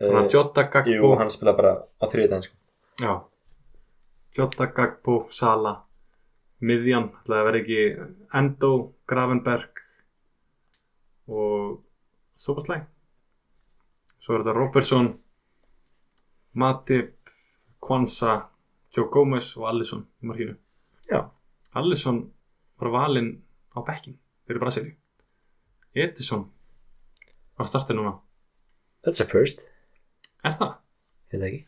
Þannig Eh, að Jota, Jú, Gagbo, hann spila bara á þriðið daginn, sko. já, Jota, Gagbo, Sala, Miðjan, ætlaði að vera ekki Endo, Gravenberg og Sopaslæg. Svo er þetta Robertson, Matip, Kwanza, Joe Gomez og Alisson í markinu. Já. Allison var valinn á bekkin fyrir Brasilíu Edison var að starta núna That's a first. er það? Þetta ekki.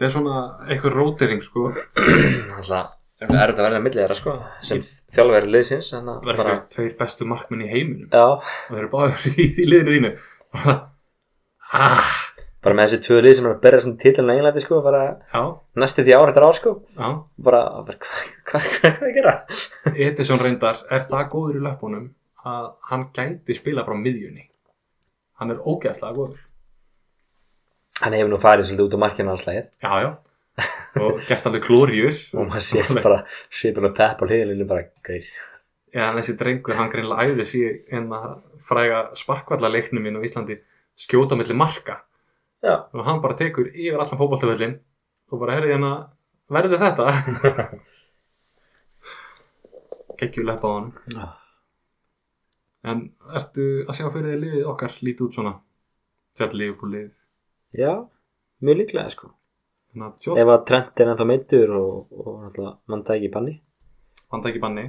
það er svona eitthvað rótering sko það Alltaf er þetta verðið að millið þeirra, sko. Sem þjálfur liðsins, þannig að var bara... eitthvað tveir bestu markmenn í heiminum Já, og þeir eru báður í því liðinu þínu Bara, ah, bara með þessi tvö lið sem er að berja svona títlun eiginlega, sko, bara já, næstu því ár eftir ár, sko. já Bara, bara hvað hva, hva, hva að gera? Edison reyndar er það góður í löpunum að hann gæti spila frá miðjunni hann er ógeðslega góður Hann hefur nú farið svolítið út á markinu allslægið já, já og gert alveg glóriur og maður sér bara svipur og pepp á hliðinu bara, gaur, Já, en þessi drengur, hann greinlega æði sér en að hérna, fræga sparkvallaleiknum minn á Íslandi skjóta milli marka Já. og hann bara tekur yfir allan fótboltaföllin og bara herði hérna verði þetta kekkjulepp á hann Já. en ertu að sjá fyrir því liðið okkar lítið út svona fjall liðbúlið já, mjög líklega, sko. þannig að Ef að Trent er ennþá meittur og, og náttúrulega mann dæki í banni. tjótt vanda ekki banni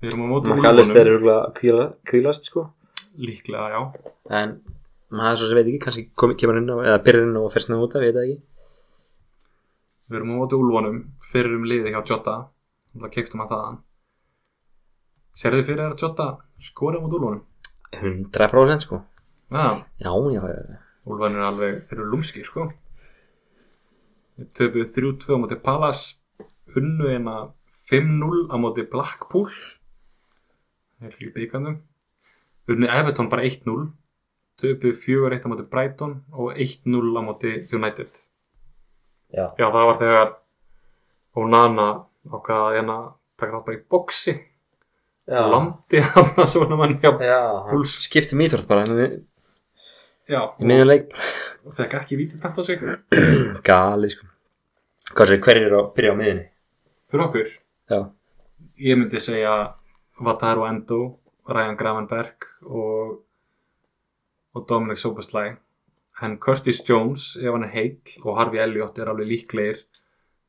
við erum á móti Úlfunum. McAllister er örugglega að kvíla, kvílast sko líklega, já en maður er svo sem veit ekki kannski kom, kemur inn á eða byrjar inn á og fyrst inn á út af, ég veit það ekki við erum á móti úlvanum fyrir um liði hjá Jota þannig að keiftum að þaðan Serðu fyrir þér að Jota skora mot úlvanum? 100% sko Já, já, já, já, já. úlvanir er alveg, þeir eru lúmskir sko Þeir töpuðu 3-2 á móti Palace unnu en að 5-0 á móti Blackpool er líka byggandum unni Everton bara 1-0 töpu 4-1 á móti Brighton og 1-0 á móti United Já. já það var þegar Onana ákvað að hérna taka þátt bara í boxi Já, landi hann að svona mann já, já hann Puls. skipti um íþrótt bara hérna í já miðjum leik og fekk ekki vítið tæmt á sig Gali sko Hvað sér, hver er að byrja á miðjunni? fyrir okkur Já, ég myndi segja Wataru Endo, Ryan Gravenberg og, og Dominic Soboslæ en Curtis Jones, ef hann er heill og Harvey Elliot er alveg líklegir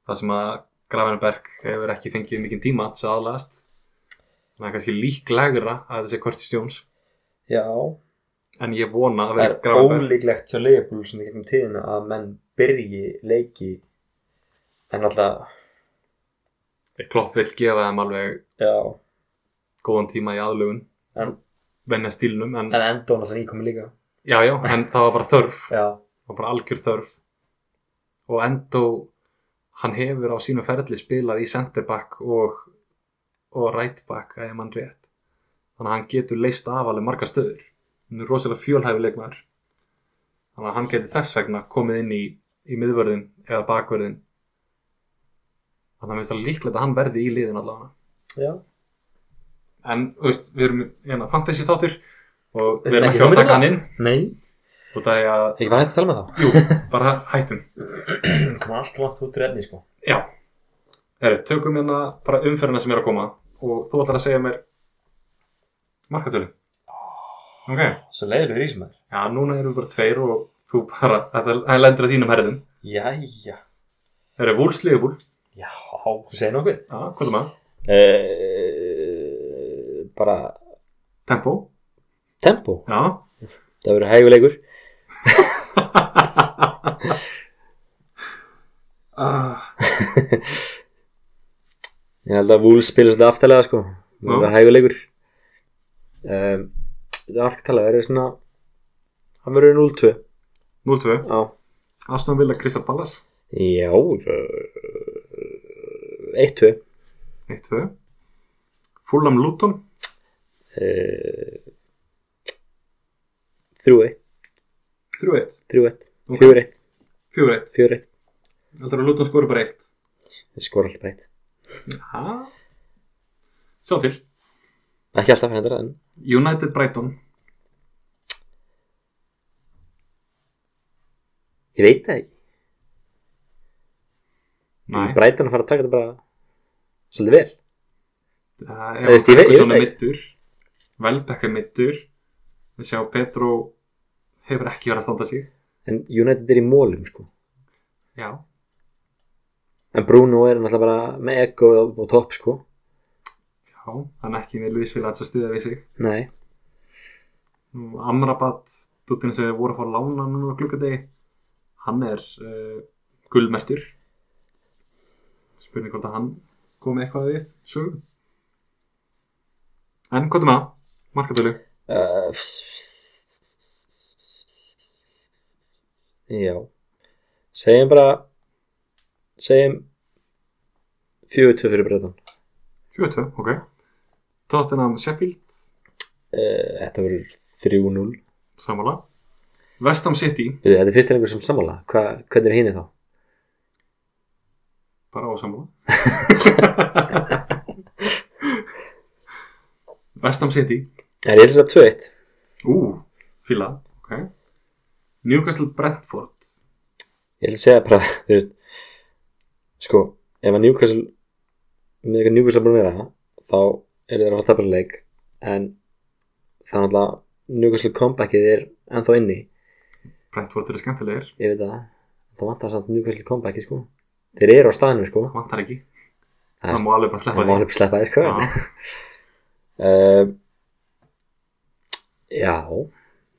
þar sem að Gravenberg hefur ekki fengið mikinn tíma til aðlast þannig að kannski líklegra að þetta sé Curtis Jones já en ég vona að Það vera er Gravenberg ólíklegt hjá leifbúl sem í gegnum tíðina að menn byrji leiki en alltaf, Klopp vil gefa þeim alveg já góðan tíma í aðlugun En- venja stílnum en, en enda hún alltaf nýkomi líka já, já, en það var bara þörf Já, og bara algjör þörf og Endo hann hefur á sínu ferli spilað í center back og, og right back ef mann rétt þannig að hann getur leist af alveg marga stöður hann er rosalega fjölhæfi leikmar þannig að hann getur þess vegna komið inn í, í miðvörðin eða bakvörðin þannig að mér finnst það líklegt að hann verði í liðin allavega já en þú veist, við erum hérna fantasy þáttur og við Ekki erum ekki að hugmynd um taka það. hann inn Nei, og það er að, ekki bara hægt að tala með þá jú, bara hættum Hún kom alltaf langt út úr efni sko Já, herru, tökum hérna bara umferðina sem er að koma og þú ætlar að segja mér markatölu Ok, Svo leiðilegur í sem er já, núna erum við bara tveir og þú bara, þetta hann lendir að þínum herðum Jæja Herru, vúls, liðbúl, Já, segir nokkuð já, hvað er maður? uh, Bara Tempo, Tempo, já það verður hæguleikur ah. Ég held að Wolves spilast þetta aftalega sko Það verður hæguleikur um, Það er allt talað, það verður svona Það verður 0-2 0-2, Já Aston Villa, Crystal Palace Já eh, 1-2 1-2 Fulham, Luton, Eh, 3-1 3-1 3-1 Ok. 4-1 4-1, 4-1 heldur að Luton skori bara 1 Þeir skora alltaf breytt Já Sjá til, Ekki alltaf hendur en United, Brighton Ég veit það ekki Nei, Breitan að fara að taka þetta bara Svolítið vel Það Eða er Steve- Ferguson ég er veit mittur Velbekk er mittur við sjá Petro hefur ekki verið að standa sig En United er í mólum sko já, En Bruno er náttúrulega bara með ego og, og topp sko já, hann er ekki með Luis Village að stiða við sig Nei Nú, Amrabat, duttinn sem þið voru að fá að lána núna á klukkadegi hann er uh, gullmertur spurning hvort að hann komið eitthvað við sögum en hvað er maður? Markatölu uh, Já Segjum bara Segjum 4-2 fyrir Breitan 42, ok Tottenham Sheffield, uh, Þetta verður 3-0 samanlega Vestam City, Við, Þetta er fyrst einhver sem sammála Hva, Hvernig er hini þá? bara ósammála Vestam City Það er eitthvað 2-1 Ú, fíla ok. Newcastle Brentford ég ætla að segja bara þú veist sko, ef að Newcastle með eitthvað Newcastle búin að vera þá eru þeir að fara að tapra leik en það er náttúrulega Newcastle comebackið er ennþá inni Brentford eru skemmtilegir, ég veit það, það vantar samt Newcastle comebackið sko þeir eru á staðinu sko það vantar ekki Það er- Það má alveg bara það sleppa má því alveg sleppa þér sko Já. um, já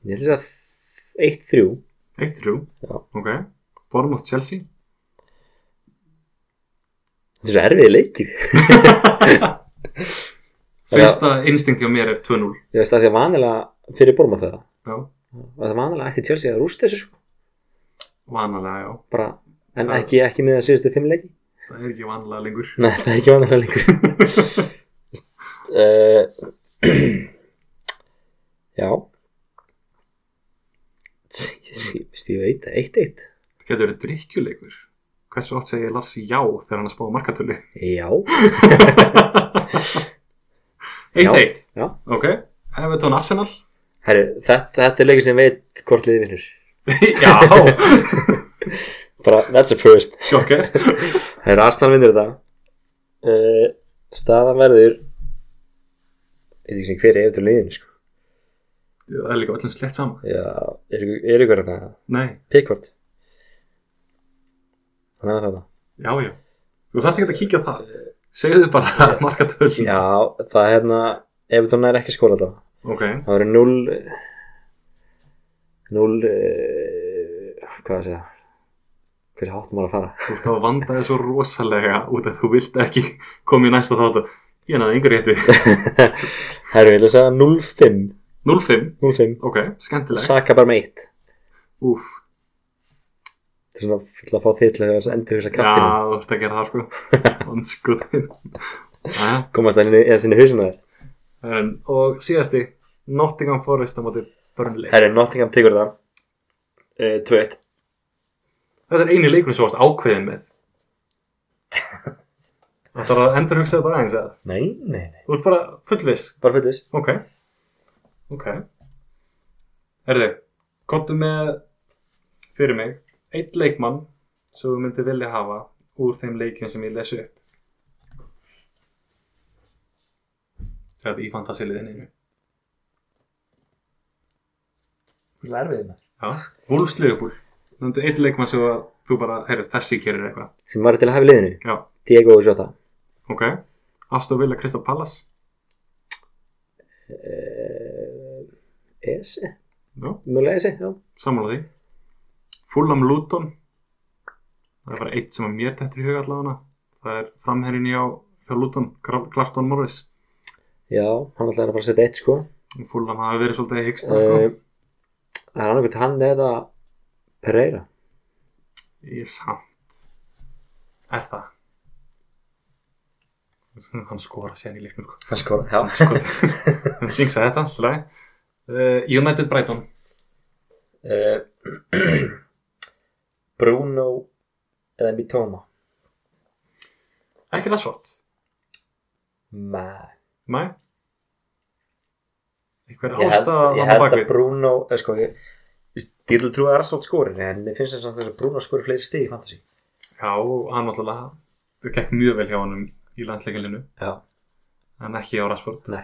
ég ætla að segja 1-3 Eitt þrjú, Já. ok Bournemouth Chelsea þetta er svo erfiði leikir Fyrsta instinkt hjá mér er 2-0 ég veist að því að vanilega fyrir borma það Já, og það vanalega ætti Chelsea að rústa þessu sko vanalega, já bara, en Já. ekki, ekki með að síðustu fimm leiki Það er ekki vanalega lengur nei, það er ekki vanalega lengur uh, Já Ég ég- veist, ég veit það, eitt eitt Þetta getur verið drikkjuleikur. Hversu oft segir Lars já þegar hann er að spá markatölu? Já, Já. 1-1. já Ok. Everton Arsenal. Herru, þetta, þetta er leikur sem veit hvort liðið vinnur já. Bara, that's a first Sjokker. Herru, Arsenal vinnur þetta uh, Staðan verður Ég veit ekki sem hver er eftir liðinu sko. Það er líka öllum slett saman. Já, er, er ykkur hann að Nei. Pickford Hann er það það Já, já. Þú þarft ekki að kíkja á það. Segðu bara markatölu. Já, það er hérna Everton er ekki að skóla þetta Ok. Það verður 0 0 uh, Hvað að segja Hversu háttum maður að fara Þú ert að vanda þér svo rosalega út að þú vilt ekki koma í næsta þáttu. Ég náði yngur rétti. Herru, ég ætla að segja 0-5 0-5. 0-5 Ok. Skemmtilegt. Saka bara með 1 Úf. Það er svona fulla að fá þið til að þess að endur þess að Já, kraftinu þú ert að gera það sko. Ondskutin. Jæja. Komast það inn í sinni hausum að þér En, og síðasti Nottingham Forest á móti Burnley Herru, Nottingham tegur það uh, 2-1 Þetta er eini leikur sem varst ákveðin með Þetta er að endur hugsa þetta aðeins eða Nei, nei, nei Þú ert bara fullviss Bara fyrir þess Ok Ok Herðu, komdu með fyrir mig Eitt leikmann sem þú myndir vilja hafa úr þeim leikjum sem ég lesu upp Segðu þetta í fantasiliðinu Það er erfið maður Já, Wolfs Liverpool Nöndu eitt leikmann sem að þú bara, heyrðu, þessi kerir eitthvað Sem maður er til að hafa í liðinu Já, Diego og Jota ok Aston Villa, Crystal Palace uh, Ese Já, Mjögulega Ese, já sammála því Fulham Luton Það er bara eitt sem að mér þetta í huga allavega Það er framherrin hjá, hjá Luton, Gra- Clarkton Morris Já, hann ætlaði að fara að setja eitt sko Fulham hafi verið svolítið hyggst Eh, uh, Það er annarkvæmt hann eða Pereira Ég er samt Er það Hann skora sér í leiknum sko. Hann skora, já Skot Hann syngsa þetta, slæ uh, United Brighton Eh, Bruno eða Mitoma Ekki Rashford Mæ Nei Einhver Ég ástæða held, ég þarna held að bakvið Bruno eh, sko, ég, ég vil trú að Arsenal skorir en mér finnst þess að þess að Bruno skorir fleiri stig í fantasy Já, hann náttúrulega Það gekk mjög vel hjá honum í landsleikilinu Já, En ekki á Rashford nei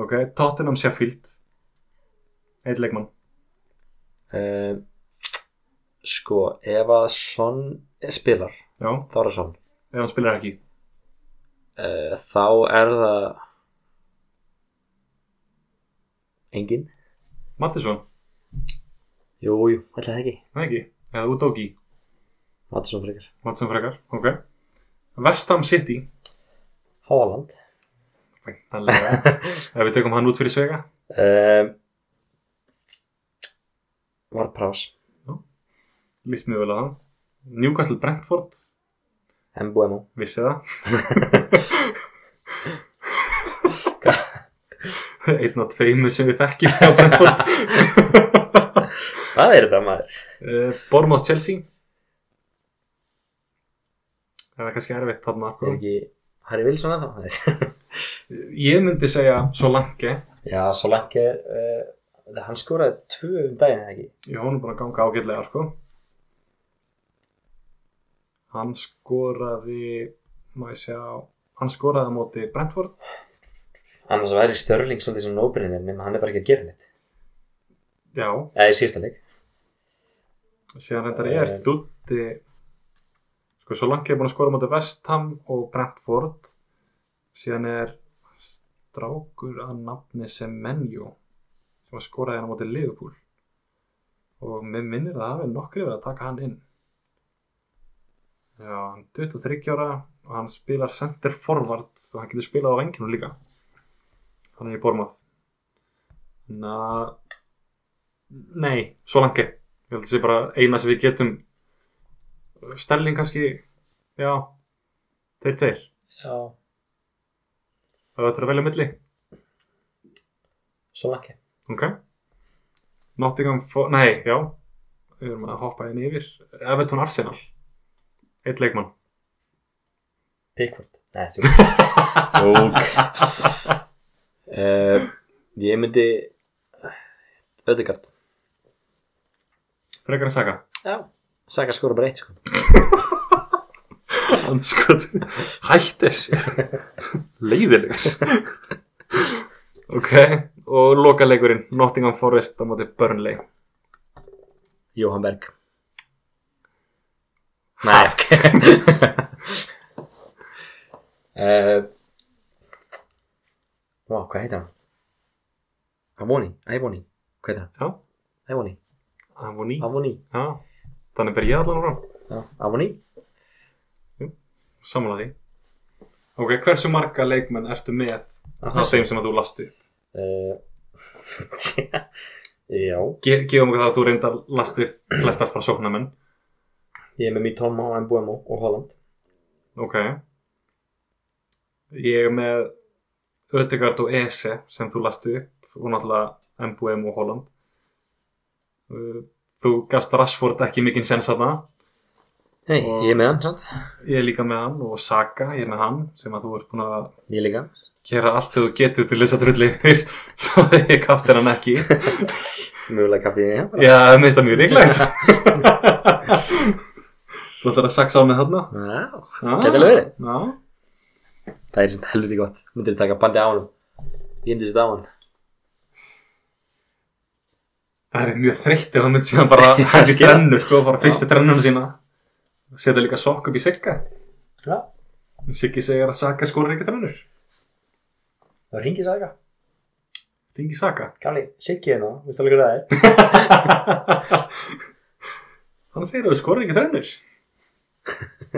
Ok, Tottenham Sheffield Eitt leikmann uh, Sko, ef að Son spilar, Já, þá er það Son ef hann spilar ekki uh, þá er það engin Mattisson, Jú, jú, ætli það ekki það ekki Eða Udogi, Matsson frekar Mattisson frekar Ok West Ham City Haaland Væntanlega Ef við tökum hann út fyrir svega um, Var prás Lýst mjög vel að hann Newcastle Brentford Mbuemo Vissi það Einn og tveimur sem við þekkjum hjá Brentford Hvað er þetta maður? uh, Bormóð Chelsea Það er kannski erfitt þarna Er sko. ekki Harry Wilson eða það? Ég myndi segja Solanke Já, svo langt er uh, Hann skoraði tvö um daginn eða ekki Ég honum búin að ganga ágætlega sko. Hann skoraði Má ég sjá Hann skoraði á móti Brentford Annars væri Störling svolítið sem nóbrinir nema hann er bara ekki að gera neitt Já, Eða í síðasta leik síðan reyndar ég er Eh. Dutti Sko Solanke er búin að skora á móti Vestham og Brentford Síðan er Strákur að nafni Semenyo sem að skoraði hann á móti Liverpool og mér minnir að það hafi nokkri verið að taka hann inn Já, hann er 23 ára og hann spilar center forward og hann getur spilað á vengjunum líka hann er í Bormað Na Nei, svo langi ég held að það sé bara eina sem við getum Sterling kannski Já, þeir tveir Já Það er að velja á milli Solanke Ok Nottingham, Fo- nei, já Við erum að hoppa inn yfir Everton Arsenal Eitt leikmann Pickford Nei, tjók Tjók uh, Ég myndi Ödegard Frekar að saga Já Saka skora bara eitt sko Andskot Hættis Leiðilegur Ok Og lokaleikurinn Nottingham Forest á móti Burnley Jóhann Berg Nei, ok uh, Wow, hvað heitir hann? Avoni, Avoni, hvað heitir hann? Já, Avoni, það var ný Avoni, Já, þannig ber ég allan frá já, Avoni Samanlega því Ok, hversu marga leikmenn ertu með Það uh, þeim sem að þú lastu Eh, Já, Ge Gefum okkur það að þú reyndar lastu Flest allt bara sóknarmenn ég er með Mitoma og Mbuemo og Holland Ok Ég er með Ödegard og Ese sem þú lastu upp og náttúrulega MBM og Holland Uh, Þú gafst Rashford ekki mikinn sens að Hei, Og- ég er með hann, sant? Ég er líka með hann og Saga, ég er með hann sem að þú ert búin að Ég líka gera allt sem þú getur til þess að trulli yfir svo að ég kafti hann ekki Mögulega kaffið ég Já, það minnst það mjög ríklegt Þú ætlar að saksa á með þarna Já, ah, Gæti alveg verið. Já, það er sem helviti gott Myndir taka bandi á hann Ég myndi sér á hann Það er mjög þreytt ef það myndi síðan bara hægt í skil það. trennu, sko, bara fyrstu trennunum sína. Setja líka sokk upp í Sigga. Já, Siggi segir að Saka skorir ekki trennur. það ringir sæka Þingi Saka. Kalli, Siggi hérna, veistu alveg hvað það er? Hann segir að þú skorir ekki trennur.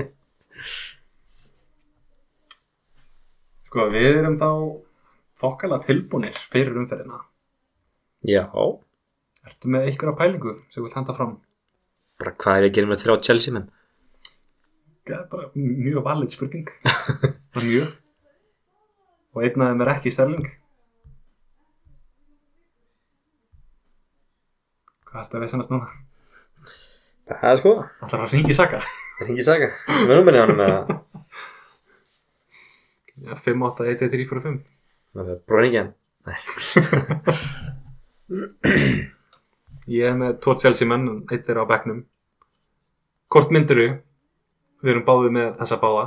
Sko, við erum þá fokkala tilbúinir fyrir umferðina. Já, Ertu með einhverja pælingu sem þú vilt henda fram? bara hvað er ég að gera með þrjá Chelsea menn? Það er bara mjög valið spurning. Bara mjög. Og einn af þeim er ekki Sterling. Hvað er þetta að vesenast núna? Það er sko, Það að ringi Saka. það ringi saga Við erum með hann með að Já, 5, 8, 1, 2, 3, 4, 5. bróningi hann Ég er með tvo Chelsea menn, en einn er á bekknum. Hvort myndiru? Við erum báðið með þessa báða.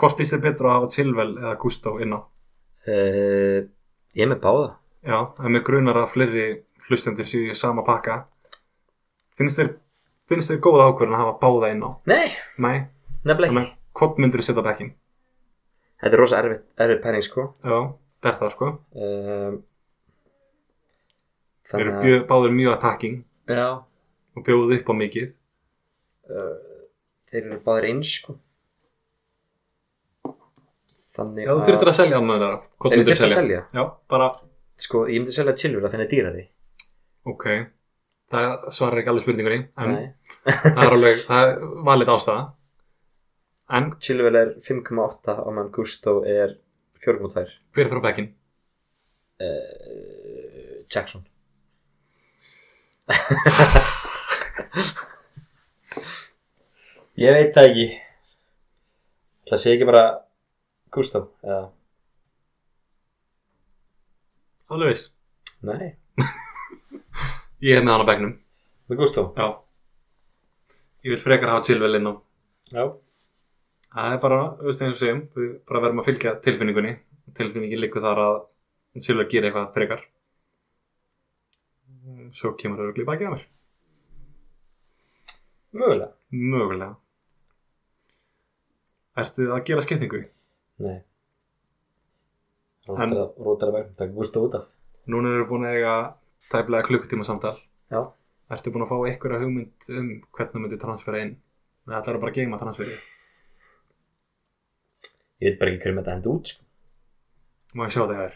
Hvort íst er betra að hafa Chilwell eða Gusto inn á? uh, Ég er með báða Já, en mig grunar að fleiri hlustendur séu í sama pakka. Finnst þér, finnst þér góð ákvörðin að hafa báða inn á? Nei, Nei, nefnileg þannig að hvort myndur þú setja á bekkinn? Þetta er rosa erfið, erfið pæring sko Já, það er það sko. uh, Við erum bjö, báður mjög attacking Já og bjóðu upp á mikið. Þeir eru báðir eins sko Þannig Já, þú þurftur að selja annan þeirra. Hvort Ef ég myndur þú þyrfti að selja? selja? Já, bara, Sko, ég myndi selja Chilwell að þenni dýrari ok. Það svarar ekki alveg spurningunni, en Nei. það er alveg, það er valið ástæða. En Chilwell er 5,8 og mann Gusto er 4,2 hver er frá bekkinn? uh, Jackson Ég veit það ekki Það sé ekki bara Gusto eða, Alveg viss. Nei, Ég er með hann á bekknum. með Gusto Já. Ég vil frekar hafa Chilwell inn á. Já, Það er bara, þú veist eins og segjum, við bara verðum að fylgja tilfinningunni. Tilfinningin liggur þar að Silva gera eitthvað frekar. Svo kemur það örugglega í bakið að mér. mögulega Mögulega. Ertu að gera skiptingu? Nei En- Rótar- Rótar að vegna, það er Gusto út af Núna erum við búin að eiga tæplega klukkutíma samtal. Já, Ertu búin að fá einhverja hugmynd um hvernig þú myndir transfera inn? Það ætlar bara að geima transferið. ég veit bara ekki hverju með þetta hendi út sko. Má ég sjá það hér?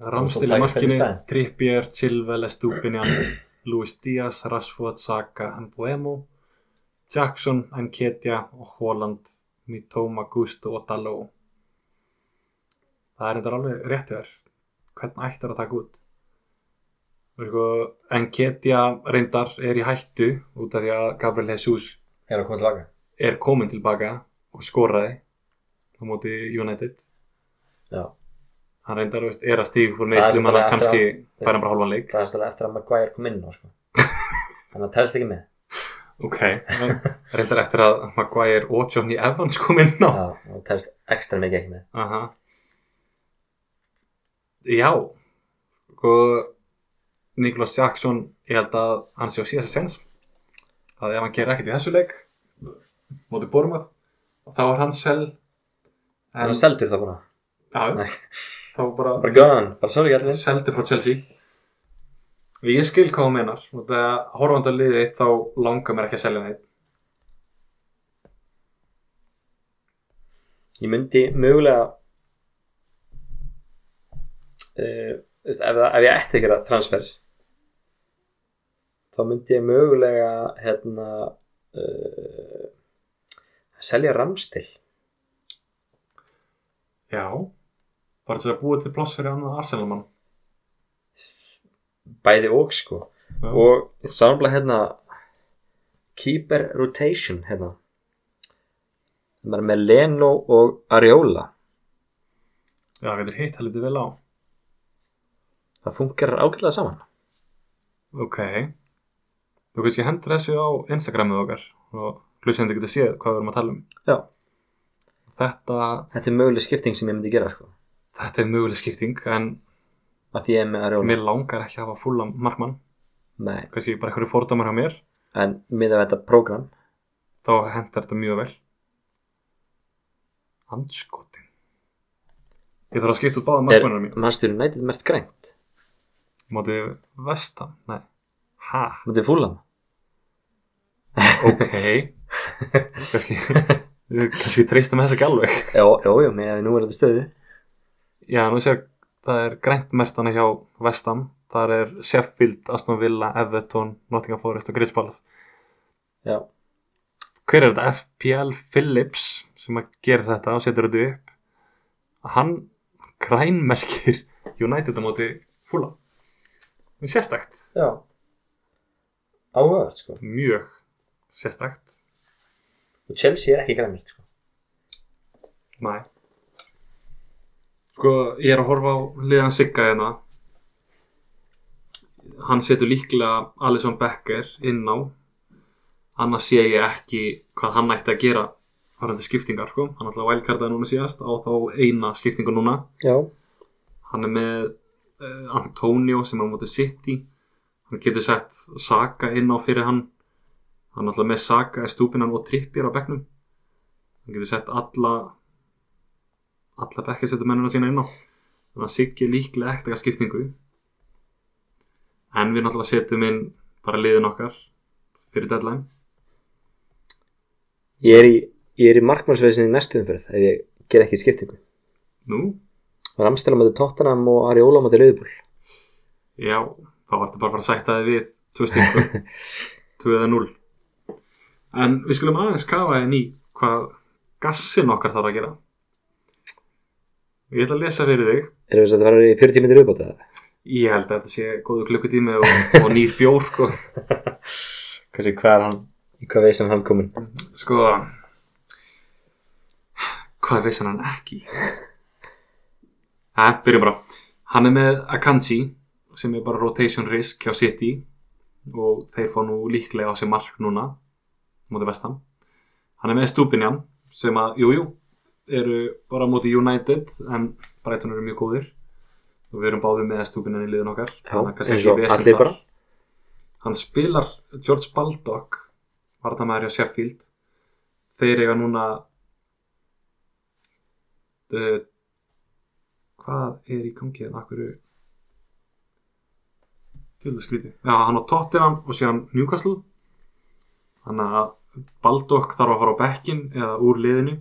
Þú Ramstil í tækir markinu, fyrir staðinn. Trippier, Chilwell, Estupinjan, Luis Díaz, Rashford, Saka, Mbuemo, Jackson, Anketia og Holland, Mitoma, Gusto og Daló. það er þetta alveg rétt hjá þér hvern ættar að taka út Og sko, en Ketja reyndar er í hættu út af því að Gabriel Jesus Er að koma til laga er komin tilbaka og skoraði á móti United Já, hann reyndar þú veist, er að stíga fór Það er meðslum hann bara kannski að- fær hann bara hálfan leik það er stæðlega eftir að Maguire kom inn á sko. Þannig að telst ekki með ok, en reyndar eftir að Maguire og Johnny Evans kom inn á Já, það telst ekstra mikið ekki með Aha. já og Niklas Jackson ég held að hann sé á síðasta sens að ef hann gerir ekkert í þessu leik móti Bormað þá er hann sel Það en, er seldur það bara já, Nei. þá bara Bara gone, bara sorry allir seldi frá Chelsea ég skil hvað hún menar og það horfandi að liði eitt þá langar mér ekki að selja neitt Ég myndi mögulega uh, veist, ef, það- ef ég ætti ekki að transfer þá myndi ég mögulega hérna uh, selja ramstil já bara þess að búa til pláss fyrir annan Arsenalmann bæði og sko Já. og samla hérna keeper rotation hérna það er með Leno og Ariola já, það getur hitt að lítið vel á það funkar ágætlega saman ok þú kannski hendur þessu á Instagramið okkar og hlustandi getur séð hvað við erum að tala um Já. þetta, þetta er möguleg skipting sem ég myndi gera sko þetta er möguleg skipting en að því ég er með Ariola mér langar ekki að hafa fulla markmann Nei. kannski bara einhverju fordómar á mér en miðað við þetta prógram þá hendar þetta mjög vel Andskotin Ég þarf að skipta út báða er markmennur mín mannstur United mest grænt Móti vestan, nei Ha, mútið fúlam ok Kannski Kannski treystum þess ekki alveg jó, jó, jó, með að við nú er þetta stöðu Já, nú sé að það er grænt mertana hjá vestan Þar er Sheffield, Aston Villa, Everton, Nottingham Forest og Grispallas já, Hver er þetta? FPL Phillips sem að gera þetta og setur þetta upp Hann grænmerkir United á móti fúla Sérstakt já áhugavert sko mjög sérstakt og Chelsea er ekki grænmýrt sko Nei Sko, ég er að horfa á liðan Sigga hérna Hann setur líklega Alisson Becker inn á annars sé ég ekki hvað hann ætti að gera farandi skiptingar sko, hann ætlaði að wildcarda núna síðast á þá eina skiptingu núna já, hann er með uh, Antonio sem er á móti City hann getur sett Saka inn á fyrir hann hann er alltaf með Saka er stúpinan og trippir á bekknum hann getur sett alla alla bekkasettu mennina sína inn á þannig að Siggi er líklega ekkert að skiptingu en við náttúrulega setjum inn bara liðin okkar fyrir deadline ég er í, ég er í markmannsveisinni næstu umferð ef ég ger ekki skiptingu nú, Ramstela með Tottenham og Ariola með Liverpool já, þá var þetta bara að fara að sætta þið við tvö stíkum, tvö eða núl en við skulum aðeins kafa henni í hvað gassin okkar þarf að gera ég ætla að lesa fyrir þig erum við að vera í 40 minnir uppátt eða? ég held að þetta sé góðu klukkutími og, og nýr bjór sko, Kansi, hvað er hann? Í hvað veist hann hann komin? sko hvað vissi hann ekki Það, byrjum bara Hann er með Akanji sem er bara rotation risk hjá City og þeir fá nú líklega á sér mark núna móti vestam Hann er með Stupinjan sem að, jújú, jú, eru bara móti United en Brighton eru mjög góðir og við erum báðið með Stupinjan í liðin okkar Já, Þannig að kannski eins ekki og vesen allir þar. bara. Hann spilar George Baldock vartamæður hjá Sheffield þeir eiga núna uh, hvað er í gangi hérna? en akkur til það skríti já, hann á Tottenham og síðan Newcastle þannig að Baldock þarf að fara á bekkin eða úr liðinu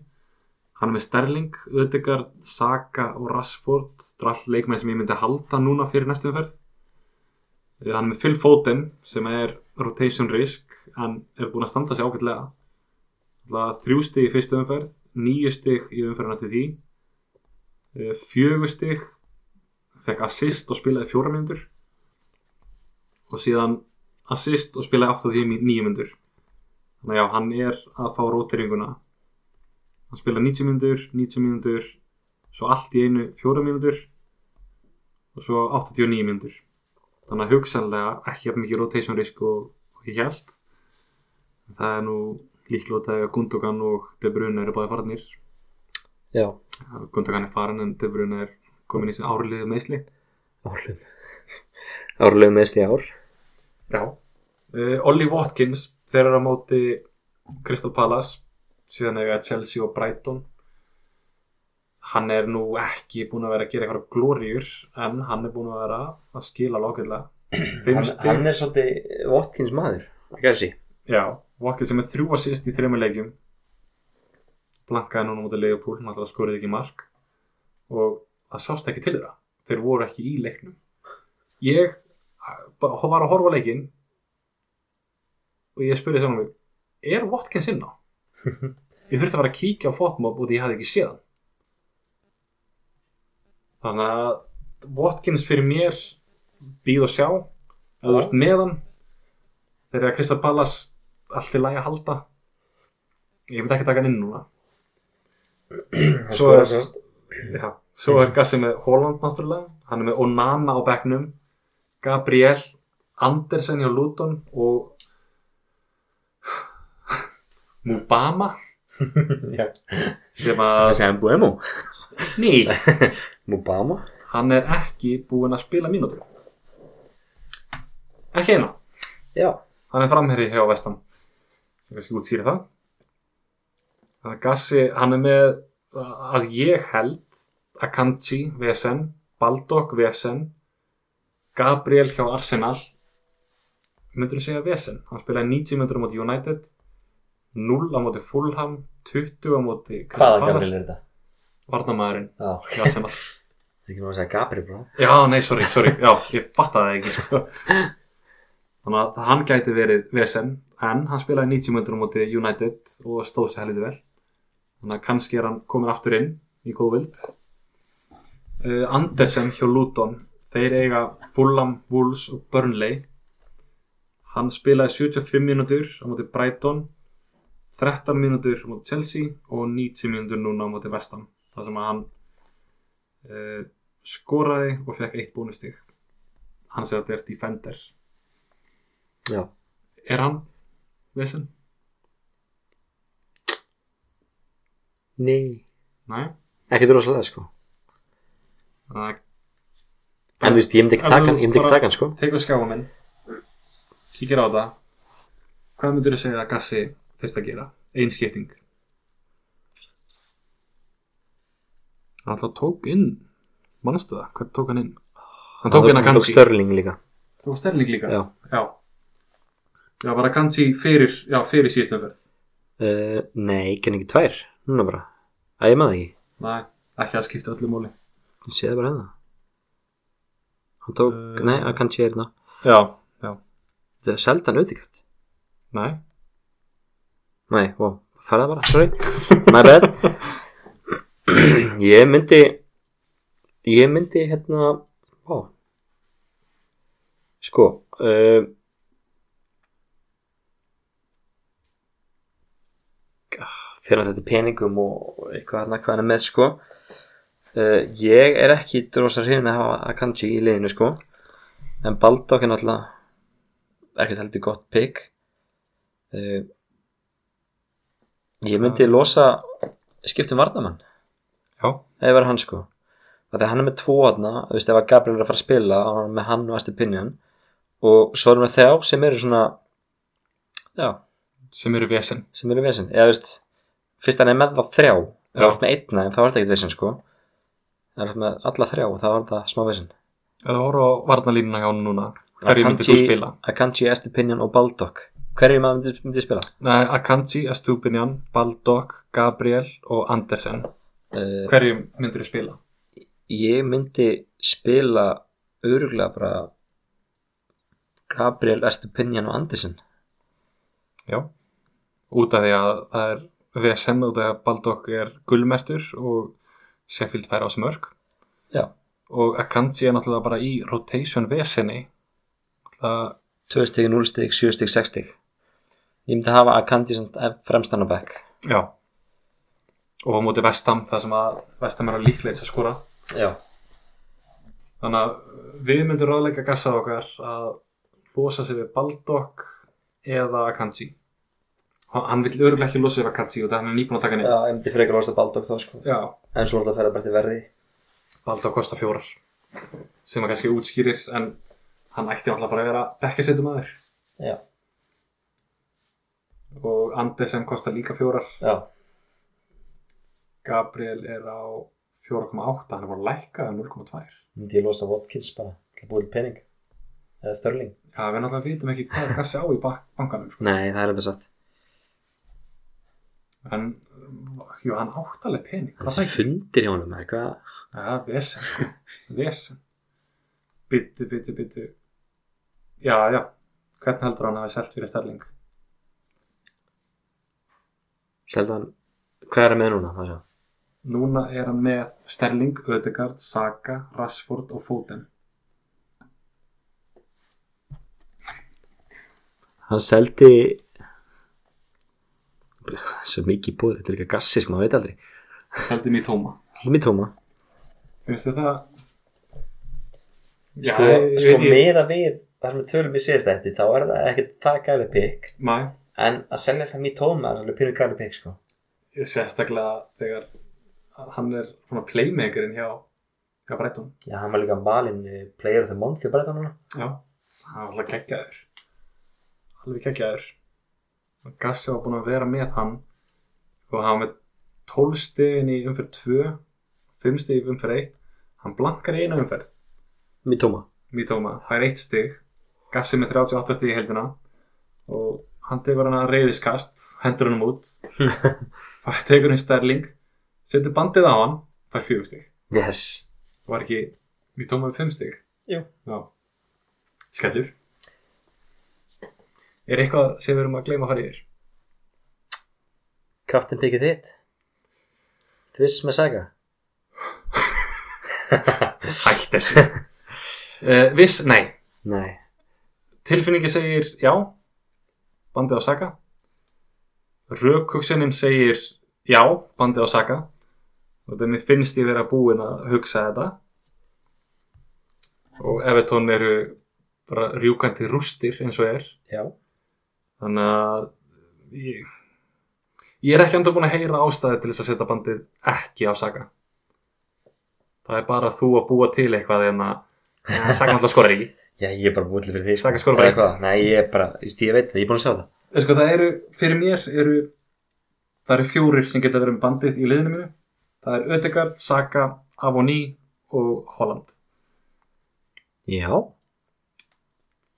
hann er með Sterling, Ödegard, Saka og Rashford þetta er allt leikmenn sem ég myndi halda núna fyrir næstu umferð Eh, hann er með Phil Foden sem er rotation risk en er búin að standa sig ágætlega Alla þrjú stig í fyrstu umferð, níu stig í umferðina til því Eh, Fjögur stig fekk assist og spilaði fjóra myndur og síðan assist og spilaði 8-10 mí- níu myndur þannig að já, hann er að fá rótiringuna hann spilaði 90 myndur 90 myndur svo allt í einu fjóra myndur og svo 89 myndur þannig að hugsanlega ekki jafn mikið rotation risk og, og ég held það er nú líklóta að Gundogan og De Bruyne eru báði farnir Já, Gundogan er farin en De Bruyne er komin í árlið meðsli árlum Árlum meðst í ár Já uh, Ollie Watkins þeir eru á móti Crystal Palace síðan eiga Chelsea og Brighton hann er nú ekki búin að vera að gera eitthvað glóriur en hann er búin að vera að skila lókilega hann, hann er svolítið Watkins maður Ekki þessi Já, Watkins sem er þrjú að síðast í þreymur leikjum blankaði núna mútið Leopold náttúrulega skorið ekki mark og það sást ekki til þeirra þeir voru ekki í leiknum ég eh, bara var að horfa á leikinn og ég spurði sjálfum mig er Watkins inn á? ég þurfti að vera að kíkja á fotmob og því ég hafði ekki séð hann þannig að Watkins fyrir mér býð og sjá ef þú ert með hann þegar að Krista Ballas allt í lagi að halda ég myndi ekki taka hann inn núna Hann Svo- skorar sem sagt- Já. svo er Gassi með Holland náttúrulega hann er með Onana á bekknum Gabriel Andersen hjá Luton og Mubama Já. sem Það að sem Buemo Ný. Mubama hann er ekki búinn að spila mínútur ekki eina Já, hann er framherri hjá Vestam sem kannski útskýri það þannig að Gassi, hann er með að ég held Akanji VSN, Baldok VSN Gabriel hjá Arsenal myndur þú segja VSN, hann spilaði 90 myndur á móti United 0 á móti Fulham 20 á móti hvaða gamil er þetta? Varnamæðurinn Já, hjá Arsenal ekki maður að segja Gabri brá Já, nei, sorry, sorry, já, ég fattaði það ekki sko. Þannig að hann gæti verið VSM en hann spilaði 90 mjöndur á móti United og stóð sér helviti vel þannig að kannski er hann komin aftur inn í góðvild uh, Andersen hjá Luton þeir eiga Fulham, Wolves og Burnley hann spilaði 75 mínútur á móti Brighton 13 mínútur á móti Chelsea og 90 mínútur núna á móti Vestam þar sem að hann uh, skoraði og fekk eitt bónustig hann segði að þetta er defender Já, er hann vesen? nei Nei Ekki droslega sko þannig að En þú veist, ég myndi ekki En taka þú hann, ég myndi ekki bara- taka hann sko tekur skáa minn kíkir á það hvað myndur þú segja að Gassi þurft að gera? einskipting hann alltaf tók inn mannstu það? hvað tók hann inn? hann tók inn að Hann tók Kansi Störling líka tók Sterling líka Já. já, já var að Kansi fyrir, já, fyrir síðstumferð uh, Nei, ekki ekki tvær Núna bara Æ, ég maður það ekki nei, ekki að skipta öllu móli Þú séð það bara hérna Hann tók, Eh. nei, að kannski er hérna já, já, Það er seldan auðvitað nei Nei, ó, fara það bara, sorry My bad Ég myndi Ég myndi hérna Ó Sko uh, Fyrir að þetta peningum og eitthvað hérna hvað hann er með sko uh, Ég er ekki drosar hrifin að hafa að kannski í liðinu sko En Baldok er náttúrulega ekki heldur gott pick uh, Ég myndi losa skiptum varnamann já, ef það er hann sko af því að hann er með tvo aðna þú veist ef að Gabriel er að fara að spila þá er hann með hann og Astepinian og svo erum við þrjá sem eru svona já, sem eru vesen sem eru vesinn eða þú veist, fyrst hann er með það þrjá ef Já. hann er með einna en þá er þetta ekkert vesinn sko en ef hann er með alla þrjá þá er þetta smá vesinn Ef þú horfa á varnalínuna hjá hann núna Hverju myndir þú spila? Akanji, Astepinian og Baldock hverju maður myndir, myndir spila? Nei, Akanji, Estúbinjan, Baldok, Gabriel og Andersen Uh, Hverju myndir þú spila? ég myndi spila öruglega bara Gabriel Estupinjan og Andersen Já Út af því að það er vesen út af því að Baldok er gulmertur og Sheffield fær á þessu mörg Já. og Akanji er náttúrulega bara í rotation vesenni náttúrulega 2 stig, 0 stig, 7 stig, 6 stig ég myndi hafa Akandi sem fremstanna back já og á móti Vestam það sem að Vestam er að líkleits að skora já, þannig að við myndum ráðleika gassa okkar að losa sig við Baldock eða Akanji Hann- hann vill örgulega ekki losa sig við Akanji og það hann er nýbúin að taka niður já ég myndi frekar losta Baldock þá sko já, en svo náttúrulega fer það bara til verði Baldock kostar fjórar sem að kannski útskýrir en hann ætti náttúrulega bara að vera bekkjasettum aður já, og Andesen kostar líka fjórar já, Gabriel er á 4,8 hann er búin að lækka um 0,2 myndi ég losa Watkins bara til að búið til pening eða Störling Já, við náttúrulega vitum ekki hvað er kassi á í bak- bankanum sko. nei, það er þetta satt en um, jú, hann áttaleg pening hvað það þessi ekki? fundir hjá honum er eitthvað Já, vesen sko. vesen byttu, byttu, byttu já, já, hvernig heldur hann að hafi selt fyrir sterling Seldan, hvað er að með núna? Má sjá. núna er hann með sterling, Ödegard, Saka, Rashford og Foden hann seldi svo mikið búið, þetta er líka gassi sko, maður veit aldrei seldi mér tóma Lumi Tóma finnst þið það sko, ég- sko ég- meða við þar sem við tölum í síðast eftir þá er það ekkert það gæli pikk Nei. en að selja það mjög tóma er alveg pínu gæli pikk sko sérstaklega þegar hann er svona playmakerinn hjá, hjá Breitón já, hann var líka valinn eh, player of the month fyrir bara þetta núna já, hann er alltaf kekkjaður alveg kekkjaður og Gassi var búin að vera með hann og hann var með 12 stegin í umferð 2 5 stegin í umferð 1 hann blankar í eina umferð mjög tóma Mítóma, það er 1 steg Gassi með 38 steg í heldina og hann tekur hann að reyðiskast hendur hann út það tekur hann stærling setur bandið á hann, það er 4 steg yes var ekki við tómaðum fimm stig Jú. Já. skellur er eitthvað sem við erum að gleyma að fara yfir kaftin pikið þitt tviss með saga hætt þessu uh, viss, nei, nei tilfinningi segir já bandið á Saka rökhugsunin segir já, bandið á Saka og þannig finnst ég vera búinn að hugsa þetta og Evertón eru bara rjúkandi rústir eins og er já þannig að ég, ég er ekki andur búin að heyra ástæði til þess að setja bandið ekki á Saga það er bara þú að búa til eitthvað en að ja, Saga alltaf skorar ekki já, ég er bara búin til fyrir því Saka skorar bara Eða hvað? nei, ég er bara þú veist, ég veit það, ég er búin að sjá það er, sko, það eru, fyrir mér eru það eru fjórir sem geta verið með bandið í liðinu mínu það er Ödegard, Saga, Avoní og Holland já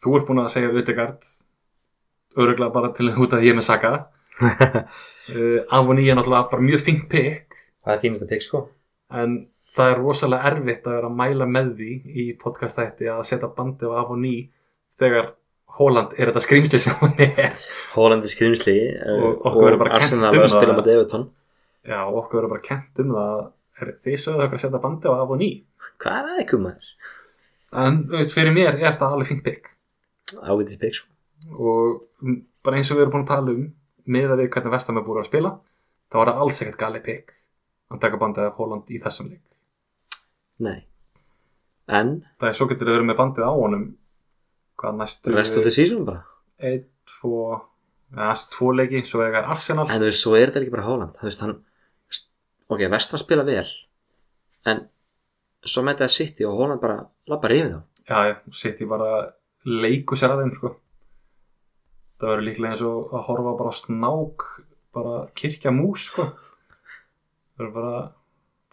þú ert búin að segja Ödegard öruglega bara til út að ég er með Saga uh, Avoní er náttúrulega bara mjög fink pick það er fínasta pikk sko en það er rosalega erfitt að vera að mæla með því í podcastætti að setja bandið af og ný þegar Holland er þetta skrýmsli sem hún er Hólandi skrimsli eh, Og okkur verður bara kennt Arsenal um var að spila það. með Everton já, og okkur verður bara kent um það er þið sögðu okkur að setja bandið af og ný hvað er það ekki maður? en auðvitað fyrir mér er það alveg fint bygg ávitis pikk sko og mm, bara eins og við erum búin að tala um með að við hvernig vestam er búin að spila þá er það alls ekkert gali bygg að taka bandið af Holland í þessum leik nei en það er svo getur við verið með bandið á honum hvað næstu rest of the season bara einn, tvo eða þessu tvo leiki, svo eiga er Arsenal en þú veist, svo er þetta ekki bara Holland þú veist, hann st- ok, Vestfa spila vel en svo mæta það City og Holland bara lappar yfir þá já, já, City bara leiku sér aðeins sko. það verður líklega eins og að horfa bara á snák bara kirkja mús sko. það verður bara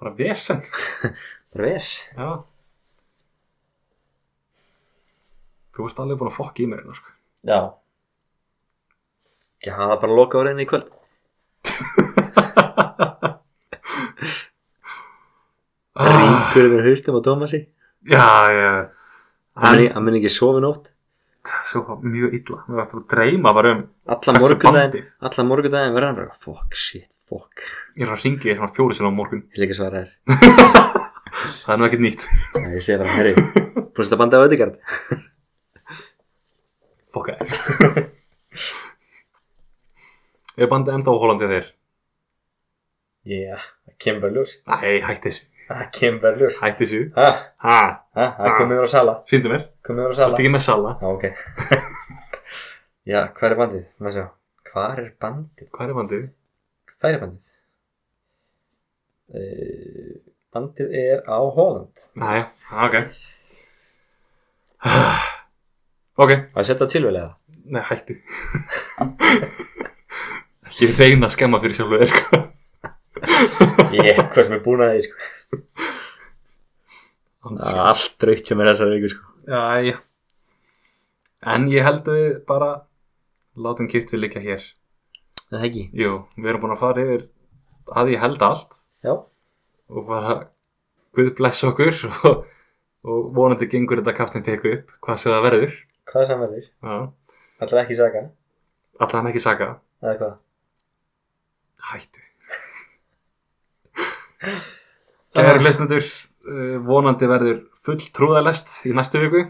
bara vesen bara ves já. þú ert alveg búin að fokka í mér hérna, sko. já ég hafa bara loka orðinni í kvöld ah, ringur yfir haustum á Tómasi já, Ah. já hann muni- hann muni ekki sofa í nótt sjófa mjög illa Mér var eftir að dreyma bara um Alla Hvert er morgunæðin bandið? Alla morgunæðin verður hann bara Fuck, shit, fuck Ég er að ringi þér svona fjóri sinna á morgun Ég vil ekki svara þér Það er nú ekkert nýtt Nei, Ég segi bara, herri Búinst að banda á öðugard Fokka þér. Er bandið ennþá á Hollandi þeir? Já, það kemur bara ljós Nei, hætti þessu Það kemur bara ljós Hætti þessu Ha, Ha, ha, það komið verið á sala síndu mér Komið verið Þú ert á sala ekki með sala Já, ok Já, hvað er bandið? Má sjá Hvað er bandið? Hvað er bandið? Hvað er bandið? Uh, bandið er á Holland Næja, ok Ok, Það setja tilvælega nei, hættu Ekki reyna að skemma fyrir sjálfu þér sko. Ég, hvað sem er búin að því, sko Andskot. Það er allt draugt hjá mér þessar viku, sko Jæja En ég held að við bara látum kýrt við líka hér Það er ekki Jú, við erum búin að fara yfir að ég held allt Já og bara Guð bless okkur og, og vonandi gengur þetta kaftin peku upp hvað sem það verður Hvað sem verður? Já. Alltaf ekki saga, Allan ekki saga eða hvað? Hættu Kæru lesnendur uh, vonandi verður full trúðalest í næstu viku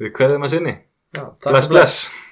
Við kveðum að sinni Já, takk Bless, bless